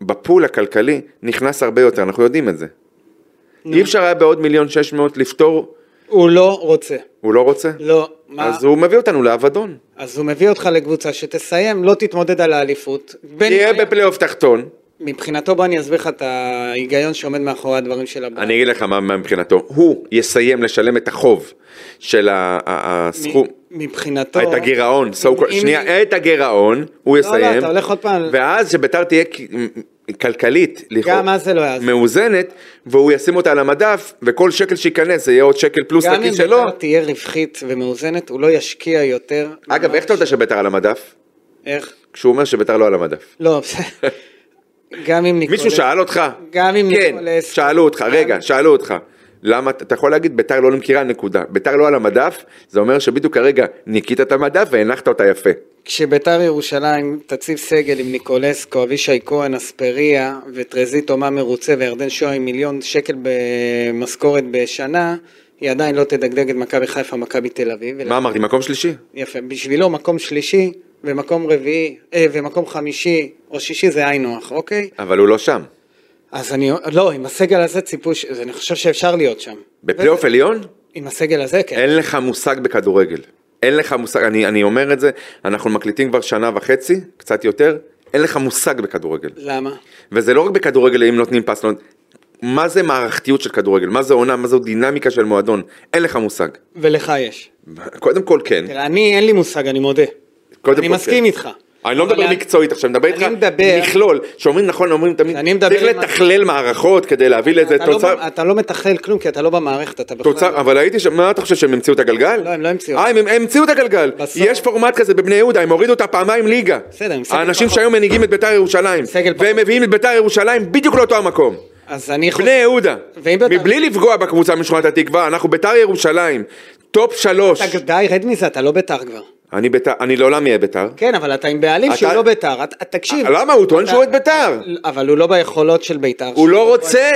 [SPEAKER 3] בפול הכלכלי נכנס הרבה יותר, אנחנו יודעים את זה. אי אפשר היה בעוד מיליון שש מאות לפתור,
[SPEAKER 2] הוא לא רוצה.
[SPEAKER 3] הוא לא רוצה?
[SPEAKER 2] לא. מה?
[SPEAKER 3] אז הוא מביא אותנו לאבדון.
[SPEAKER 2] אז הוא מביא אותך לקבוצה שתסיים, לא תתמודד על האליפות. בין-
[SPEAKER 3] תהיה בפלייאוף תחתון,
[SPEAKER 2] מבחינתו בוא אני אסביר לך את ההיגיון שעומד מאחורי הדברים של הבעל.
[SPEAKER 3] אני אגיד לך מה מה מבחינתו, הוא יסיים לשלם את החוב של ה- ה- הסכום.
[SPEAKER 2] מבחינתו...
[SPEAKER 3] את הגירעון, so called,
[SPEAKER 2] אם-
[SPEAKER 3] שנייה, את הגירעון, הוא
[SPEAKER 2] לא,
[SPEAKER 3] יסיים.
[SPEAKER 2] אתה הולך עוד פעם.
[SPEAKER 3] ואז שביתר תהיה כ- כלכלית, לכאורה.
[SPEAKER 2] גם אז זה לא יעזור.
[SPEAKER 3] מאוזנת, והוא ישים אותה על המדף, וכל שקל שייכנס זה יהיה עוד שקל פלוס
[SPEAKER 2] גם אם
[SPEAKER 3] לכיס שלו.
[SPEAKER 2] בית"ר תהיה רווחית ומאוזנת, הוא לא ישקיע יותר.
[SPEAKER 3] אגב, איך אתה יודע שביתר על המדף?
[SPEAKER 2] איך?
[SPEAKER 3] כשהוא אומר שביתר לא על המדף.
[SPEAKER 2] לא,
[SPEAKER 3] [laughs]
[SPEAKER 2] בסדר. גם אם ניקולס...
[SPEAKER 3] מישהו שאל אותך?
[SPEAKER 2] גם אם
[SPEAKER 3] כן,
[SPEAKER 2] ניקולס-
[SPEAKER 3] שאלו אותך,
[SPEAKER 2] גם-
[SPEAKER 3] רגע, שאלו אותך. למה, אתה יכול להגיד ביתר לא למכירה נקודה, ביתר לא על המדף, זה אומר שבדיוק כרגע ניקית את המדף והנחת אותה יפה.
[SPEAKER 2] כשביתר ירושלים תציב סגל עם ניקולסקו, אבישי כהן, אספריה וטרזיטו מה מרוצה וירדן שואה עם מיליון שקל במשכורת בשנה, היא עדיין לא תדגדג את מכבי חיפה, מכבי תל אביב.
[SPEAKER 3] מה אמרתי, מקום שלישי?
[SPEAKER 2] יפה. בשבילו מקום שלישי ומקום רביעי, אה, ומקום חמישי או שישי זה היינו הך, אוקיי?
[SPEAKER 3] אבל הוא לא שם.
[SPEAKER 2] אז אני, לא, עם הסגל הזה ציפו, ש- אני חושב שאפשר להיות שם.
[SPEAKER 3] בפלייאוף עליון?
[SPEAKER 2] עם הסגל הזה, כן.
[SPEAKER 3] אין לך מושג בכדורגל. אין לך מושג, אני, אני אומר את זה, אנחנו מקליטים כבר שנה וחצי, קצת יותר, אין לך מושג בכדורגל.
[SPEAKER 2] למה?
[SPEAKER 3] וזה לא רק בכדורגל אם נותנים פס, לא... מה זה מערכתיות של כדורגל? מה זה עונה? מה זו דינמיקה של מועדון? אין לך מושג.
[SPEAKER 2] ולך יש.
[SPEAKER 3] קודם כל כן.
[SPEAKER 2] תראה, אני, אין לי מושג, אני מודה.
[SPEAKER 3] קודם
[SPEAKER 2] אני
[SPEAKER 3] כל,
[SPEAKER 2] מסכים
[SPEAKER 3] כן.
[SPEAKER 2] איתך.
[SPEAKER 3] אני לא
[SPEAKER 2] אבל
[SPEAKER 3] מדבר מקצועית עכשיו, אני מדבר איתך
[SPEAKER 2] אני מדבר-
[SPEAKER 3] מכלול, שאומרים נכון, אומרים תמיד,
[SPEAKER 2] אני מדבר
[SPEAKER 3] צריך
[SPEAKER 2] עם-
[SPEAKER 3] לתכלל מערכות כדי להביא לזה
[SPEAKER 2] אתה לא
[SPEAKER 3] תוצאה,
[SPEAKER 2] במ- אתה לא מתכלל כלום, כי אתה לא במערכת, אתה בכלל...
[SPEAKER 3] תוצר, אבל הייתי שם, מה אתה חושב שהם המציאו את הגלגל?
[SPEAKER 2] לא, הם לא המציאו.
[SPEAKER 3] אה, הם הם המציאו את הגלגל.
[SPEAKER 2] בסוף-
[SPEAKER 3] יש פורמט כזה בבני יהודה, הם הורידו אותה פעמיים ליגה.
[SPEAKER 2] בסדר, עם סגל
[SPEAKER 3] האנשים
[SPEAKER 2] פחות.
[SPEAKER 3] שהיום מנהיגים את ביתר ירושלים,
[SPEAKER 2] סגל פחות.
[SPEAKER 3] והם מביאים את ביתר ירושלים בדיוק לאותו המקום.
[SPEAKER 2] אז אני חושב...
[SPEAKER 3] בני יהודה,
[SPEAKER 2] ואם ביתר-
[SPEAKER 3] מבלי לפגוע בקבוצה משכונת התקווה, אנחנו ביתר ירושלים, טופ שלוש.
[SPEAKER 2] אתה- די, רד מזה, אתה לא בית"ר כבר.
[SPEAKER 3] אני ביתר, אני לעולם אהיה ביתר.
[SPEAKER 2] כן, אבל אתה עם בעלים
[SPEAKER 3] אתה-
[SPEAKER 2] שהוא לא בית"ר. אתה- תקשיב.
[SPEAKER 3] למה? הוא טוען
[SPEAKER 2] אתה-
[SPEAKER 3] שהוא את ביתר.
[SPEAKER 2] אבל הוא לא ביכולות של בית"ר.
[SPEAKER 3] הוא לא רוצה.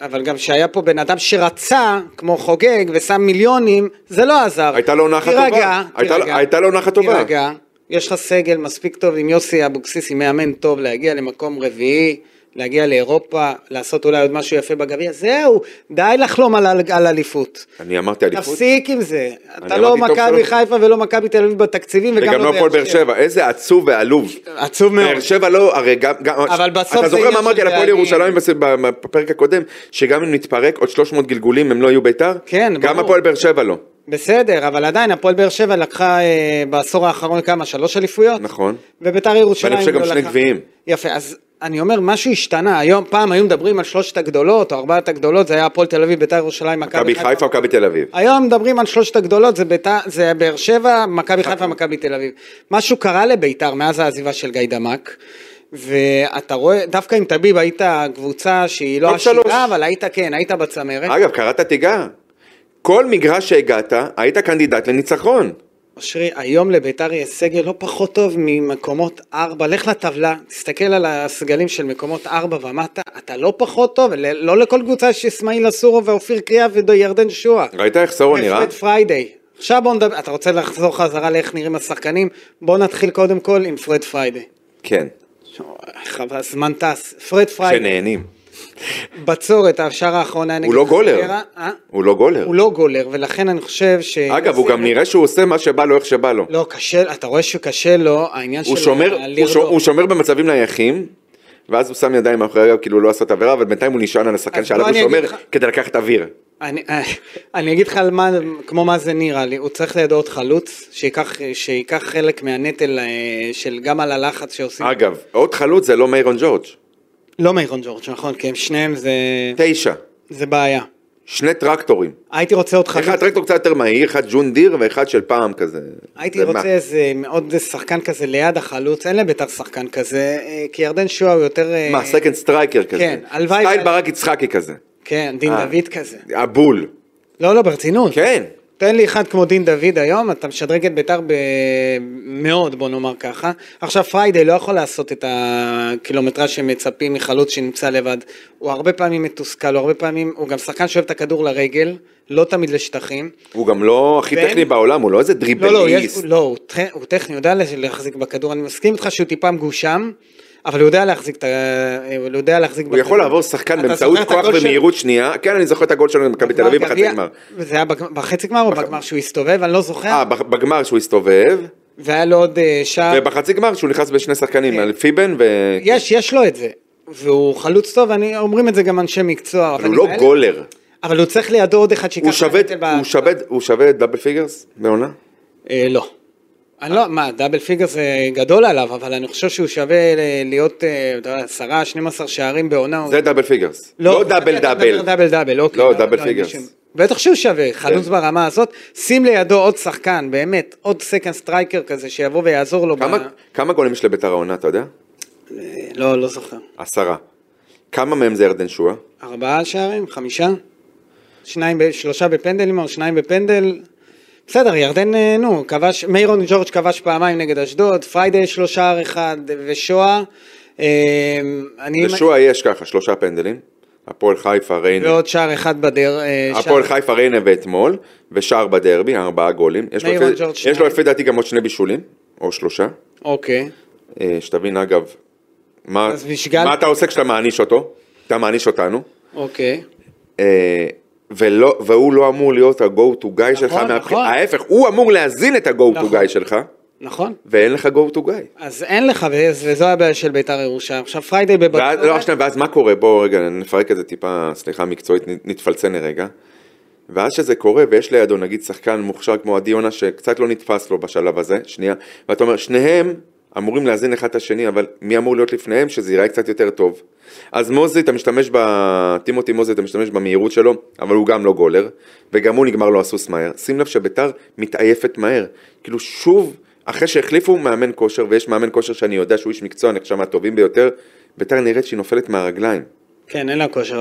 [SPEAKER 2] אבל גם שהיה פה בן אדם שרצה, כמו חוגג, ושם מיליונים, זה לא עזר.
[SPEAKER 3] הייתה לו עונה אחת
[SPEAKER 2] תירגע,
[SPEAKER 3] טובה. הייתה
[SPEAKER 2] תירגע.
[SPEAKER 3] לו- הייתה לו עונה אחת טובה.
[SPEAKER 2] תירגע. יש לך סגל מספיק טוב עם יוסי אבוקסיס, עם מאמן טוב, להגיע למקום רביעי, להגיע לאירופה, לעשות אולי עוד משהו יפה בגביע, זהו, די לחלום על, על, על אליפות.
[SPEAKER 3] אני אמרתי אליפות.
[SPEAKER 2] תפסיק עם זה. אתה
[SPEAKER 3] אמרתי
[SPEAKER 2] לא
[SPEAKER 3] טוב שלא.
[SPEAKER 2] מכבי חיפה ולא מכבי תל אביב בתקציבים, וגם,
[SPEAKER 3] וגם לא הפועל באר שבע, איזה עצוב ועלוב.
[SPEAKER 2] עצוב מאוד.
[SPEAKER 3] באר שבע לא, הרי גם, גם,
[SPEAKER 2] אבל בסוף
[SPEAKER 3] אתה
[SPEAKER 2] זה
[SPEAKER 3] זוכר
[SPEAKER 2] עניין
[SPEAKER 3] מה אמרתי
[SPEAKER 2] של
[SPEAKER 3] על הפועל
[SPEAKER 2] בעלים.
[SPEAKER 3] ירושלים בס- בפרק הקודם, שגם אם נתפרק עוד 300 גלגולים הם לא יהיו ביתר?
[SPEAKER 2] כן,
[SPEAKER 3] גם
[SPEAKER 2] ברור.
[SPEAKER 3] הפועל באר שבע לא,
[SPEAKER 2] בסדר, אבל עדיין הפועל באר שבע לקחה אה, בעשור האחרון כמה? שלוש אליפויות?
[SPEAKER 3] נכון.
[SPEAKER 2] וביתר ירושלים
[SPEAKER 3] ואני חושב
[SPEAKER 2] לא
[SPEAKER 3] גם שני
[SPEAKER 2] לקחה.
[SPEAKER 3] גביעים.
[SPEAKER 2] יפה, אז אני אומר, משהו השתנה. היום, פעם היו מדברים על שלושת הגדולות, או ארבעת הגדולות, זה היה הפועל תל אביב, ביתר ירושלים,
[SPEAKER 3] מכבי חיפה או מכבי תל אביב.
[SPEAKER 2] היום מדברים על שלושת הגדולות, זה, ביתר, זה באר שבע, מכבי חיפה, מכבי תל אביב. משהו קרה לביתר מאז העזיבה של גיא דמק, ואתה רואה, דווקא עם טביב היית קבוצה שהיא לא
[SPEAKER 3] טופ שלוש.
[SPEAKER 2] עשירה, אבל היית, כן, היית בצמרת.
[SPEAKER 3] אגב, קראת תיגר. כל מגרש שהגעת, היית קנדידט לניצחון.
[SPEAKER 2] אושרי, היום לביתר יש סגל לא פחות טוב ממקומות ארבע. לך לטבלה, תסתכל על הסגלים של מקומות ארבע ומטה, אתה לא פחות טוב, ל- לא לכל קבוצה יש אסמאעיל אסורו ואופיר קריאה וירדן שואה.
[SPEAKER 3] ראית איך סורו נראה?
[SPEAKER 2] ופרד פריידי. עכשיו בוא נדבר, אתה רוצה לחזור חזרה לאיך נראים השחקנים? בוא נתחיל קודם כל עם פרד פריידי.
[SPEAKER 3] כן.
[SPEAKER 2] חבל, הזמן טס. פרד פריידי,
[SPEAKER 3] שנהנים.
[SPEAKER 2] בצורת, השער האחרון היה נגד...
[SPEAKER 3] הוא לא גולר.
[SPEAKER 2] חדרה, אה?
[SPEAKER 3] הוא לא גולר.
[SPEAKER 2] הוא לא גולר, ולכן אני חושב ש...
[SPEAKER 3] אגב, הוא גם נראה שהוא עושה מה שבא לו, איך שבא לו.
[SPEAKER 2] לא, קשה, אתה רואה שקשה לו, העניין
[SPEAKER 3] הוא
[SPEAKER 2] שלו,
[SPEAKER 3] שומר,
[SPEAKER 2] ה-
[SPEAKER 3] הוא, ש...
[SPEAKER 2] לרדוף.
[SPEAKER 3] הוא שומר במצבים נייחים, ואז הוא שם ידיים מאחורי הגב, כאילו הוא לא עשה את העבירה, אבל בינתיים הוא נשען על השחקן
[SPEAKER 2] אז בוא
[SPEAKER 3] שעליו הוא
[SPEAKER 2] אני אגיד
[SPEAKER 3] שומר,
[SPEAKER 2] לך-
[SPEAKER 3] כדי לקחת אוויר.
[SPEAKER 2] אני, אה, אני אגיד לך על מה, כמו מה זה נראה לי, הוא צריך לידו עוד חלוץ, שייקח, שייקח חלק מהנטל אה, של גם על הלחץ שעושים.
[SPEAKER 3] אגב, עוד חלוץ זה לא מיירון ג'ורג'.
[SPEAKER 2] לא מיירון ג'ורג', נכון, כי הם שניהם זה,
[SPEAKER 3] תשע.
[SPEAKER 2] זה בעיה.
[SPEAKER 3] שני טרקטורים.
[SPEAKER 2] הייתי רוצה לא- עוד חלוץ,
[SPEAKER 3] אחד טרקטור קצת יותר מהיר, אחד ג'ון דיר ואחד של פעם כזה.
[SPEAKER 2] הייתי
[SPEAKER 3] זה
[SPEAKER 2] רוצה
[SPEAKER 3] מה?
[SPEAKER 2] איזה עוד שחקן כזה ליד החלוץ, אין לביתר שחקן כזה, אה, כי ירדן שואה הוא יותר... אה,
[SPEAKER 3] מה, סקנד סטרייקר כזה.
[SPEAKER 2] כן, הלוואי-
[SPEAKER 3] סטייל ברק יצחקי כזה.
[SPEAKER 2] כן, דין
[SPEAKER 3] אה.
[SPEAKER 2] דוד כזה.
[SPEAKER 3] הבול.
[SPEAKER 2] לא, לא, ברצינות.
[SPEAKER 3] כן.
[SPEAKER 2] תן לי אחד כמו דין דוד היום, אתה משדרג את ביתר ב... מאוד, בוא נאמר ככה. עכשיו פריידי לא יכול לעשות את הקילומטרז שמצפים מחלוץ שנמצא לבד. הוא הרבה פעמים מתוסכל, הוא הרבה פעמים, הוא גם שחקן שאוהב את הכדור לרגל, לא תמיד לשטחים.
[SPEAKER 3] הוא גם לא הכי
[SPEAKER 2] ואין-
[SPEAKER 3] טכני בעולם, הוא לא איזה
[SPEAKER 2] לא, לא, יש,
[SPEAKER 3] דריבליסט.
[SPEAKER 2] לא הוא, טכ... הוא טכני, הוא יודע להחזיק בכדור, אני מסכים איתך שהוא טיפה מגושם. אבל הוא יודע להחזיק את ה... אה, הוא יודע להחזיק
[SPEAKER 3] הוא יכול לעבור שחקן באמצעות כוח ומהירות שנייה. כן, אני זוכר את הגול שלנו במכבי תל אביב בחצי גמר. אוקיי.
[SPEAKER 2] זה היה בג- בחצי גמר או בגמר שהוא הסתובב, אני לא זוכר.
[SPEAKER 3] אה, בח- בגמר שהוא הסתובב,
[SPEAKER 2] והיה לו עוד אה, שער.
[SPEAKER 3] ובחצי גמר שהוא נכנס בשני שחקנים,
[SPEAKER 2] כן.
[SPEAKER 3] על פיבן ו...
[SPEAKER 2] יש, יש לו את זה. והוא חלוץ טוב, אני, אומרים את זה גם אנשי מקצוע.
[SPEAKER 3] אבל הוא לא
[SPEAKER 2] האלה-
[SPEAKER 3] גולר.
[SPEAKER 2] אבל הוא צריך לידו עוד אחד שיקח...
[SPEAKER 3] הוא
[SPEAKER 2] את
[SPEAKER 3] שווה-
[SPEAKER 2] הנטל ב-
[SPEAKER 3] הוא שווה- הוא שווה דאבל פיגרס בעונה?
[SPEAKER 2] אה, לא. אני לא, מה, דאבל פיגר זה גדול עליו, אבל אני חושב שהוא שווה ל- להיות אה, אתה יודע, 10, 12 שערים בעונה. הוא-
[SPEAKER 3] זה דאבל פיגרס. לא דאבל
[SPEAKER 2] אתה מדבר
[SPEAKER 3] דאבל.
[SPEAKER 2] דאבל דאבל, אוקיי.
[SPEAKER 3] לא, דאבל
[SPEAKER 2] אין לי
[SPEAKER 3] פיגרס.
[SPEAKER 2] שום- בטח שהוא שווה, חלוץ
[SPEAKER 3] כן.
[SPEAKER 2] ברמה הזאת, שים לידו עוד שחקן, באמת, עוד סקנד סטרייקר כזה שיבוא ויעזור לו. ב-
[SPEAKER 3] כמה- כמה גולים יש לביתר העונה, אתה יודע?
[SPEAKER 2] אה, לא, לא זוכר.
[SPEAKER 3] עשרה. כמה מהם זה ירדן שואה?
[SPEAKER 2] ארבעה שערים? חמישה? שניים, ב- שלושה בפנדלים או שניים בפנדל? בסדר, ירדן, אה, נו, כבש, מיירון ג'ורג' כבש פעמיים נגד אשדוד, פריידי יש לו שער אחד ושואה. אה, אני...
[SPEAKER 3] לשואה יש ככה, שלושה פנדלים. הפועל חיפה, ריינה.
[SPEAKER 2] ועוד שער אחד בדר. אה,
[SPEAKER 3] הפועל
[SPEAKER 2] שער-
[SPEAKER 3] חיפה, ריינה ואתמול. ושער בדרבי, ארבעה גולים. יש לו
[SPEAKER 2] מאירון
[SPEAKER 3] לפי-
[SPEAKER 2] ג'ורג'
[SPEAKER 3] יש לו
[SPEAKER 2] שניים.
[SPEAKER 3] לפי דעתי גם עוד שני בישולים, או שלושה.
[SPEAKER 2] אוקיי.
[SPEAKER 3] אה, שתבין אגב, מה
[SPEAKER 2] אז בשגל-
[SPEAKER 3] מה אתה עושה כשאתה מעניש אותו? אתה מעניש אותנו.
[SPEAKER 2] אוקיי.
[SPEAKER 3] אה, ולא, והוא לא אמור להיות ה-go to guy שלך,
[SPEAKER 2] נכון,
[SPEAKER 3] מהבח-
[SPEAKER 2] נכון.
[SPEAKER 3] ההפך, הוא אמור להזין את ה-go to
[SPEAKER 2] נכון.
[SPEAKER 3] guy שלך,
[SPEAKER 2] נכון.
[SPEAKER 3] ואין לך go to guy.
[SPEAKER 2] אז אין לך, וזה- וזו הבעיה של ביתר ירושלים. עכשיו פריידי
[SPEAKER 3] ואז, לא,
[SPEAKER 2] בבצורת,
[SPEAKER 3] שנייה, ואז מה קורה? בואו רגע, נפרק את זה טיפה, סליחה, מקצועית, נ- נתפלצן לרגע. ואז שזה קורה, ויש לידו נגיד שחקן מוכשר כמו עדי יונה, שקצת לא נתפס לו בשלב הזה, שנייה, ואתה אומר, שניהם אמורים להזין אחד את השני, אבל מי אמור להיות לפניהם? שזה ייראה קצת יותר טוב. אז מוזי, אתה משתמש ב... טימותי מוזי, אתה משתמש במהירות שלו, אבל הוא גם לא גולר, וגם הוא נגמר לו הסוס מהר. שים לב שביתר מתעייפת מהר. כאילו שוב, אחרי שהחליפו מאמן כושר, ויש מאמן כושר שאני יודע שהוא איש מקצוע, נחשב מהטובים ביותר, ביתר נראית שהיא נופלת מהרגליים.
[SPEAKER 2] כן, אין לה כושר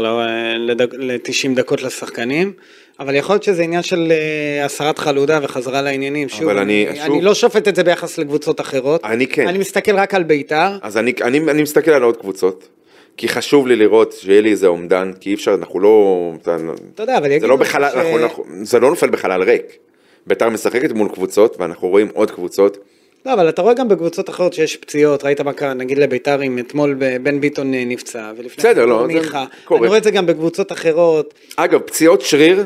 [SPEAKER 2] ל-90 דקות לשחקנים, אבל יכול להיות שזה עניין של אה, הסרת חלודה וחזרה לעניינים. שוב,
[SPEAKER 3] אבל אני-
[SPEAKER 2] אני,
[SPEAKER 3] שוב-
[SPEAKER 2] אני לא שופט את זה ביחס לקבוצות אחרות.
[SPEAKER 3] אני כן.
[SPEAKER 2] אני מסתכל רק על בית"ר.
[SPEAKER 3] אז אני, אני, אני מסתכל על עוד קבוצות, כי חשוב לי לראות שיהיה לי איזה אומדן, כי אי אפשר, אנחנו לא... אתה,
[SPEAKER 2] אתה יודע, אבל
[SPEAKER 3] זה
[SPEAKER 2] יגידו
[SPEAKER 3] לא
[SPEAKER 2] לך
[SPEAKER 3] בחלל,
[SPEAKER 2] ש-
[SPEAKER 3] אנחנו, אנחנו, זה לא נופל בחלל ריק. ביתר משחקת מול קבוצות, ואנחנו רואים עוד קבוצות.
[SPEAKER 2] לא, אבל אתה רואה גם בקבוצות אחרות שיש פציעות, ראית מה קרה, נגיד לבית"ר אם אתמול ב- בן ביטון אה, נפצע, ולפני
[SPEAKER 3] בסדר,
[SPEAKER 2] כן
[SPEAKER 3] לא, זה
[SPEAKER 2] מיכה.
[SPEAKER 3] קורה.
[SPEAKER 2] אני רואה את זה גם בקבוצות אחרות,
[SPEAKER 3] אגב, פציעות שריר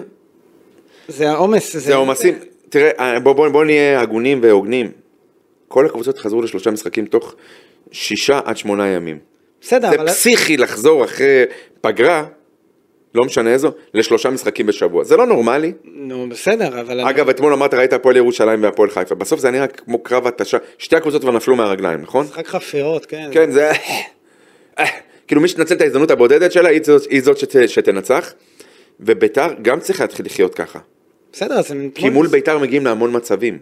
[SPEAKER 2] זה העומס.
[SPEAKER 3] זה העומסים. תראה, בואו בוא, בוא נהיה הגונים והוגנים. כל הקבוצות חזרו לשלושה משחקים תוך שישה עד שמונה ימים.
[SPEAKER 2] בסדר,
[SPEAKER 3] זה
[SPEAKER 2] לא, אבל...
[SPEAKER 3] פסיכי לחזור אחרי פגרה, לא משנה איזו, לשלושה משחקים בשבוע. זה לא נורמלי.
[SPEAKER 2] נו, בסדר, אבל... אני-
[SPEAKER 3] אגב, אתמול אמרת, ראית הפועל ירושלים והפועל חיפה. בסוף זה נראה כמו קרב התשה. שתי הקבוצות כבר נפלו מהרגליים, נכון?
[SPEAKER 2] משחק חפירות, כן.
[SPEAKER 3] כן, זה... אה, כאילו מי שתנצל את ההזדמנות הבודדת שלה, היא זאת- היא זאת שת- שתנצח. וביתר גם צריך להתחיל לחיות ככה.
[SPEAKER 2] בסדר, אז הם...
[SPEAKER 3] כי מול ביתר מגיעים להמון מצבים.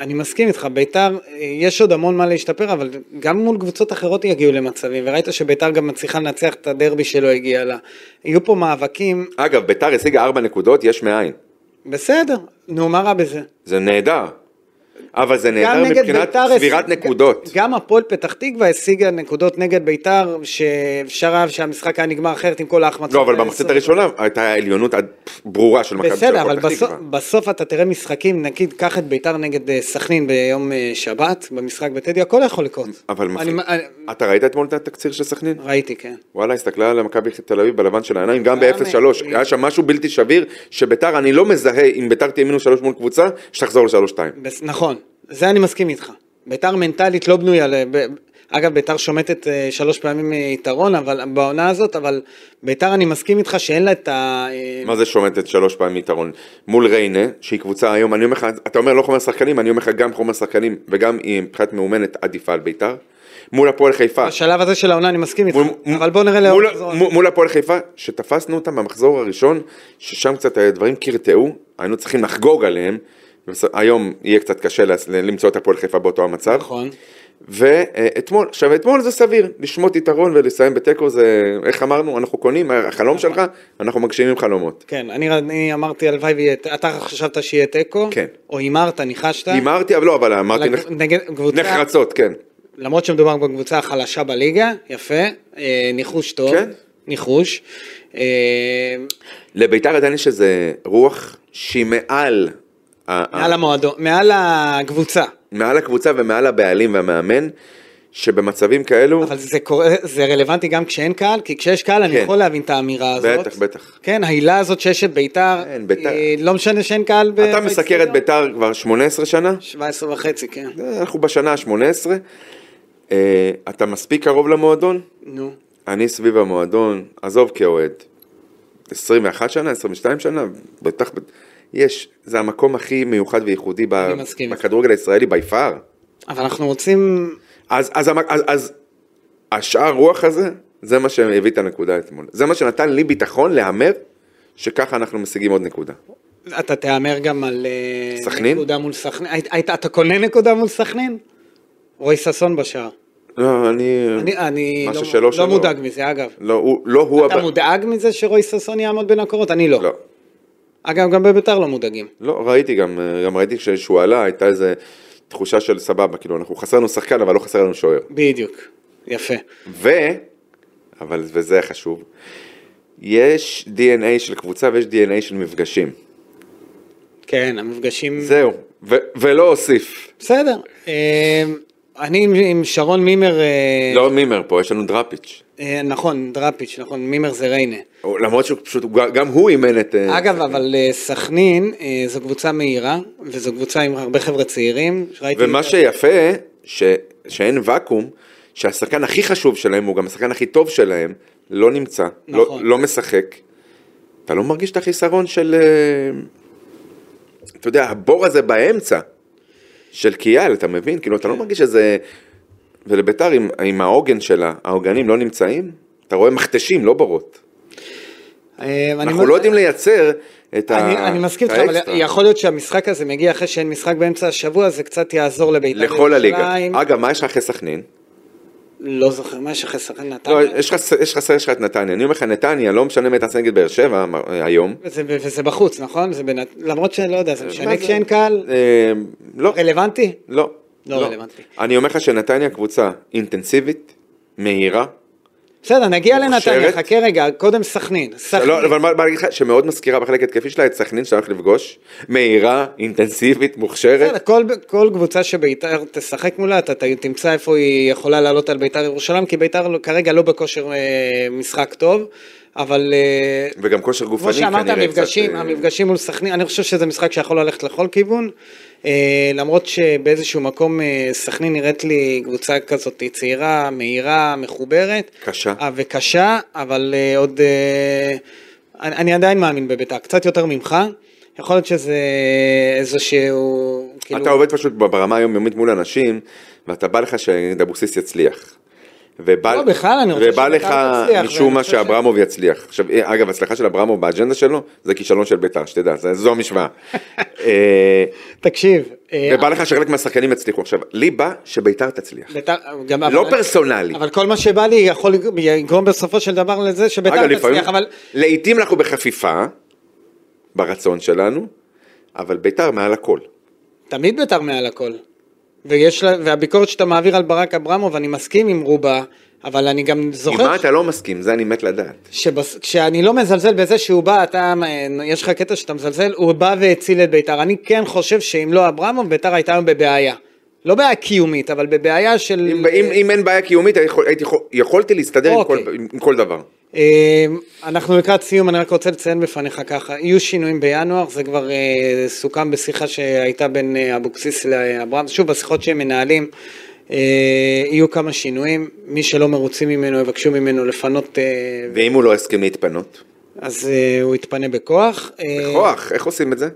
[SPEAKER 2] אני מסכים איתך, ביתר, אה, יש עוד המון מה להשתפר, אבל גם מול קבוצות אחרות יגיעו למצבים, וראית שביתר גם מצליחה לנצח את הדרבי שלא הגיע לה. יהיו פה מאבקים,
[SPEAKER 3] אגב, ביתר השיגה ארבע נקודות, יש מאין.
[SPEAKER 2] בסדר, נו, מה רע בזה?
[SPEAKER 3] זה נהדר. אבל זה
[SPEAKER 2] גם
[SPEAKER 3] נהדר מבחינת צבירת
[SPEAKER 2] השיג-
[SPEAKER 3] נקודות.
[SPEAKER 2] גם הפועל פתח תקווה השיגה נקודות נגד ביתר, שאפשר היה שהמשחק היה נגמר אחרת עם כל ההחמצות.
[SPEAKER 3] לא, אבל
[SPEAKER 2] והעשר.
[SPEAKER 3] במחצית הראשונה הייתה עליונות עד- ברורה של מכבי תל
[SPEAKER 2] בסדר,
[SPEAKER 3] אביב.
[SPEAKER 2] אבל
[SPEAKER 3] פתח
[SPEAKER 2] בסוף,
[SPEAKER 3] תקווה.
[SPEAKER 2] בסוף אתה תראה משחקים, נגיד, קח את ביתר נגד אה, סכנין ביום אה, שבת, במשחק בטדי, הכל יכול לקרות.
[SPEAKER 3] אבל
[SPEAKER 2] אני-
[SPEAKER 3] מפחיד.
[SPEAKER 2] אני-
[SPEAKER 3] אתה ראית אתמול את התקציר של סכנין?
[SPEAKER 2] ראיתי, כן.
[SPEAKER 3] וואלה, הסתכלה על מכבי תל אביב בלבן של העיניים, גם
[SPEAKER 2] גם,
[SPEAKER 3] ב-0-3.
[SPEAKER 2] אה,
[SPEAKER 3] היה שם משהו בלתי שביר, שביתר, אני לא מזהה, אם ביתר תהיה מינוס 3 מול קבוצה, שתחזור ל-3-2.
[SPEAKER 2] בס- נכון, זה אני מסכים איתך. ביתר מנטלית לא בנויה, ל- ב- אגב, ביתר שומטת אה, שלוש פעמים אה, יתרון אבל, בעונה הזאת, אבל ביתר אני מסכים איתך שאין לה את ה... אה,
[SPEAKER 3] מה זה שומטת שלוש פעמים יתרון? מול ריינה, שהיא קבוצה היום, אני אומר לך, אתה אומר לא חומר שחקנים, אני אומר לך גם חומר שחקנים, וגם היא מבחינת מאומנת עדיפה על ביתר. מול הפועל חיפה,
[SPEAKER 2] בשלב אה, הזה של העונה אני מסכים איתך,
[SPEAKER 3] מול-
[SPEAKER 2] אבל בוא נראה לאור
[SPEAKER 3] מול-
[SPEAKER 2] המחזור הזה.
[SPEAKER 3] מול- מול הפועל חיפה, שתפסנו אותם במחזור הראשון, ששם קצת הדברים קרטעו, היינו צריכים לחגוג עליהם. ובס- היום יהיה קצת קשה לס- למצוא את הפועל חיפה באותו המצב.
[SPEAKER 2] נכון.
[SPEAKER 3] ואתמול, עכשיו אתמול זה סביר, לשמוט יתרון ולסיים בתיקו זה, איך אמרנו, אנחנו קונים, החלום שלך, אנחנו מגשימים חלומות.
[SPEAKER 2] כן, אני, אני אמרתי הלוואי ויהיה, אתה חשבת שיהיה תיקו?
[SPEAKER 3] כן.
[SPEAKER 2] או הימרת, ניחשת?
[SPEAKER 3] הימרתי, אבל לא, אבל אמרתי
[SPEAKER 2] לק-
[SPEAKER 3] נח-
[SPEAKER 2] נגד קבוצה-
[SPEAKER 3] נחרצות, כן.
[SPEAKER 2] למרות שמדובר בקבוצה החלשה בליגה, יפה, אה, ניחוש טוב,
[SPEAKER 3] כן.
[SPEAKER 2] ניחוש. אה,
[SPEAKER 3] לביתר עדיין יש איזה רוח שהיא מעל, ה-
[SPEAKER 2] מעל המועדון, מעל הקבוצה.
[SPEAKER 3] מעל הקבוצה ומעל הבעלים והמאמן, שבמצבים כאלו,
[SPEAKER 2] אבל זה, קורה, זה רלוונטי גם כשאין קהל, כי כשיש קהל אני
[SPEAKER 3] כן.
[SPEAKER 2] יכול להבין את האמירה הזאת.
[SPEAKER 3] בטח, בטח.
[SPEAKER 2] כן, העילה הזאת שיש את ביתר,
[SPEAKER 3] אין, ביתר.
[SPEAKER 2] אה, לא משנה שאין קהל. ב-
[SPEAKER 3] אתה מסקר
[SPEAKER 2] באצטדיון.
[SPEAKER 3] את ביתר כבר 18 שנה,
[SPEAKER 2] 17 וחצי, כן.
[SPEAKER 3] אנחנו בשנה ה-18, אתה מספיק קרוב למועדון?
[SPEAKER 2] נו.
[SPEAKER 3] אני סביב המועדון, עזוב כאוהד, 21 שנה, 22 שנה, בטח, יש, זה המקום הכי מיוחד וייחודי ב-
[SPEAKER 2] אני מסכים.
[SPEAKER 3] בכדורגל הישראלי by far.
[SPEAKER 2] אבל אנחנו רוצים...
[SPEAKER 3] אז, אז, המ- אז, אז השאר רוח הזה, זה מה שהביא את הנקודה אתמול. זה מה שנתן לי ביטחון להמר שככה אנחנו משיגים עוד נקודה.
[SPEAKER 2] אתה תהמר גם על... אה,
[SPEAKER 3] סכנין?
[SPEAKER 2] נקודה מול סכנין. היית- היית- אתה קונה נקודה מול סכנין? רועי ששון בשער.
[SPEAKER 3] לא, אני...
[SPEAKER 2] אני, אני
[SPEAKER 3] משהו
[SPEAKER 2] לא,
[SPEAKER 3] שלא
[SPEAKER 2] לא
[SPEAKER 3] שלו.
[SPEAKER 2] מודאג מזה, אגב.
[SPEAKER 3] לא, הוא, לא הוא...
[SPEAKER 2] אתה
[SPEAKER 3] הבא-
[SPEAKER 2] מודאג מזה שרועי ששון יעמוד בין הקורות? אני לא.
[SPEAKER 3] לא.
[SPEAKER 2] אגב, גם בביתר לא מודאגים.
[SPEAKER 3] לא, ראיתי גם, גם ראיתי כשהוא עלה, הייתה איזה תחושה של סבבה, כאילו, אנחנו חסר לנו שחקן, אבל לא חסר לנו שוער.
[SPEAKER 2] בדיוק. יפה.
[SPEAKER 3] ו... אבל, וזה חשוב, יש DNA של קבוצה ויש DNA של מפגשים.
[SPEAKER 2] כן, המפגשים...
[SPEAKER 3] זהו. ו- ולא אוסיף.
[SPEAKER 2] בסדר. אה, אני עם, עם שרון מימר... אה,
[SPEAKER 3] לא מימר פה, יש לנו דראפיץ'.
[SPEAKER 2] אה, נכון, דראפיץ', נכון, מימר זה ריינה.
[SPEAKER 3] או- למרות שהוא פשוט, הוא- גם הוא אימן את... אה,
[SPEAKER 2] אגב,
[SPEAKER 3] סכנין.
[SPEAKER 2] אבל אה, סכנין אה, זו קבוצה מהירה, וזו קבוצה עם הרבה חבר'ה צעירים. שראיתי-
[SPEAKER 3] ומה שיפה, ש... שאין ואקום, שהשחקן הכי חשוב שלהם, הוא גם השחקן הכי טוב שלהם, לא נמצא,
[SPEAKER 2] נכון.
[SPEAKER 3] לא, לא משחק. אתה לא מרגיש את החיסרון של... אה, אתה יודע, הבור הזה באמצע, של קיאל, אתה מבין? כאילו,
[SPEAKER 2] כן.
[SPEAKER 3] אתה לא מרגיש איזה... ולביתר עם, עם העוגן שלה, העוגנים לא נמצאים, אתה רואה מכתשים, לא בורות.
[SPEAKER 2] אה, אני
[SPEAKER 3] אנחנו
[SPEAKER 2] מאוד-
[SPEAKER 3] לא יודעים לייצר את ה...
[SPEAKER 2] אני, אני מסכים
[SPEAKER 3] את
[SPEAKER 2] איתך, אבל
[SPEAKER 3] האקסטרה.
[SPEAKER 2] יכול להיות שהמשחק הזה מגיע אחרי שאין משחק באמצע השבוע, זה קצת יעזור לבית"ר
[SPEAKER 3] לכל הליגה.
[SPEAKER 2] ירושלים.
[SPEAKER 3] אגב, מה יש לך אחרי סכנין?
[SPEAKER 2] לא זוכר, מה יש אחרי שחקן נתניה?
[SPEAKER 3] לא, יש לך יש לך סרט שלך את נתניה. אני אומר לך, נתניה, לא משנה מה תעשה נגד באר שבע מ- היום.
[SPEAKER 2] וזה, וזה בחוץ, נכון? זה בנת... למרות שלא יודע, זה משנה
[SPEAKER 3] אה, מה זה?
[SPEAKER 2] כשאין קהל?
[SPEAKER 3] אה, לא,
[SPEAKER 2] רלוונטי?
[SPEAKER 3] לא.
[SPEAKER 2] לא רלוונטי.
[SPEAKER 3] אני אומר לך שנתניה קבוצה אינטנסיבית, מהירה.
[SPEAKER 2] בסדר, נגיע לנתניה,
[SPEAKER 3] מוכשרת?
[SPEAKER 2] חכה רגע, קודם סכנין. סכנין.
[SPEAKER 3] לא, אבל מה מה להגיד לך, שמאוד מזכירה בחלק התקפי שלה את סכנין שאתה הולך לפגוש. מהירה, אינטנסיבית,
[SPEAKER 2] בסדר,
[SPEAKER 3] מוכשרת.
[SPEAKER 2] כל, כל קבוצה שביתר תשחק מולה, אתה ת- תמצא איפה היא יכולה לעלות על ביתר ירושלים, כי ביתר לא- כרגע לא בכושר אה, משחק טוב, אבל... אה,
[SPEAKER 3] וגם כושר
[SPEAKER 2] כמו
[SPEAKER 3] גופני כנראה.
[SPEAKER 2] שאמרת,
[SPEAKER 3] קצת,
[SPEAKER 2] המפגשים,
[SPEAKER 3] אה,
[SPEAKER 2] המפגשים מול סכנין, אני חושב שזה משחק שיכול ללכת לכל כיוון, אה, למרות שבאיזשהו מקום אה, סכנין נראית לי קבוצה כזאת צעירה, מהירה, מחוברת.
[SPEAKER 3] קשה.
[SPEAKER 2] אה, וקשה, אבל אה, עוד... אה, אני אני עדיין מאמין בביתר, קצת יותר ממך. יכול להיות שזה איזשהו... כאילו-
[SPEAKER 3] אתה עובד פשוט ברמה היומיומית מול אנשים, ואתה בא לך שאבוקסיס יצליח. ובא,
[SPEAKER 2] לא, בכלל, אני רוצה
[SPEAKER 3] ובא לך
[SPEAKER 2] שבית"ר תצליח,
[SPEAKER 3] משום
[SPEAKER 2] ואני
[SPEAKER 3] מה
[SPEAKER 2] חושב ש-
[SPEAKER 3] שאברמוב יצליח. עכשיו, אה, אגב, הצלחה של אברמוב באג'נדה שלו, זה כישלון של בית"ר, שתדע, זה- זו
[SPEAKER 2] [laughs]
[SPEAKER 3] המשוואה. אה,
[SPEAKER 2] תקשיב, אה,
[SPEAKER 3] ובא לך שחלק מהשחקנים יצליחו. עכשיו, לי בא שבית"ר תצליח.
[SPEAKER 2] ביתר... גם-
[SPEAKER 3] לא
[SPEAKER 2] אבל-
[SPEAKER 3] פרסונלי.
[SPEAKER 2] אבל כל מה שבא לי יכול לגרום בסופו של דבר לזה
[SPEAKER 3] אגב,
[SPEAKER 2] שביתר
[SPEAKER 3] לפעמים,
[SPEAKER 2] תצליח, אבל...
[SPEAKER 3] לעיתים אנחנו בחפיפה, ברצון שלנו, אבל בית"ר מעל הכל.
[SPEAKER 2] תמיד ביתר מעל הכל. ויש לה, והביקורת שאתה מעביר על ברק אברמוב, אני מסכים עם רובה, אבל אני גם
[SPEAKER 3] עם
[SPEAKER 2] זוכר
[SPEAKER 3] מה אתה לא מסכים, זה אני מת לדעת.
[SPEAKER 2] שבס... כשאני לא מזלזל בזה שהוא בא, אתה, יש לך קטע שאתה מזלזל, הוא בא והציל את ביתר. אני כן חושב שאם לא אברמוב, ביתר הייתה היום בבעיה. לא בעיה קיומית, אבל בבעיה של...
[SPEAKER 3] אם, אם, אם אין בעיה קיומית, הייתי יכול- הייתי, יכול- יכולתי להסתדר עם, כל,
[SPEAKER 2] אוקיי.
[SPEAKER 3] עם, עם כל דבר.
[SPEAKER 2] אה, אנחנו לקראת סיום, אני רק רוצה לציין בפניך ככה, יהיו שינויים בינואר, זה כבר אה, סוכם בשיחה שהייתה בין אה, אבוקסיס לאברהם, שוב, בשיחות שהם מנהלים, אה, יהיו כמה שינויים, מי שלא מרוצים ממנו יבקשו ממנו לפנות, אה,
[SPEAKER 3] ואם הוא לא הסכים להתפנות?
[SPEAKER 2] אז אה, הוא יתפנה בכוח. אה,
[SPEAKER 3] בכוח, איך עושים את זה?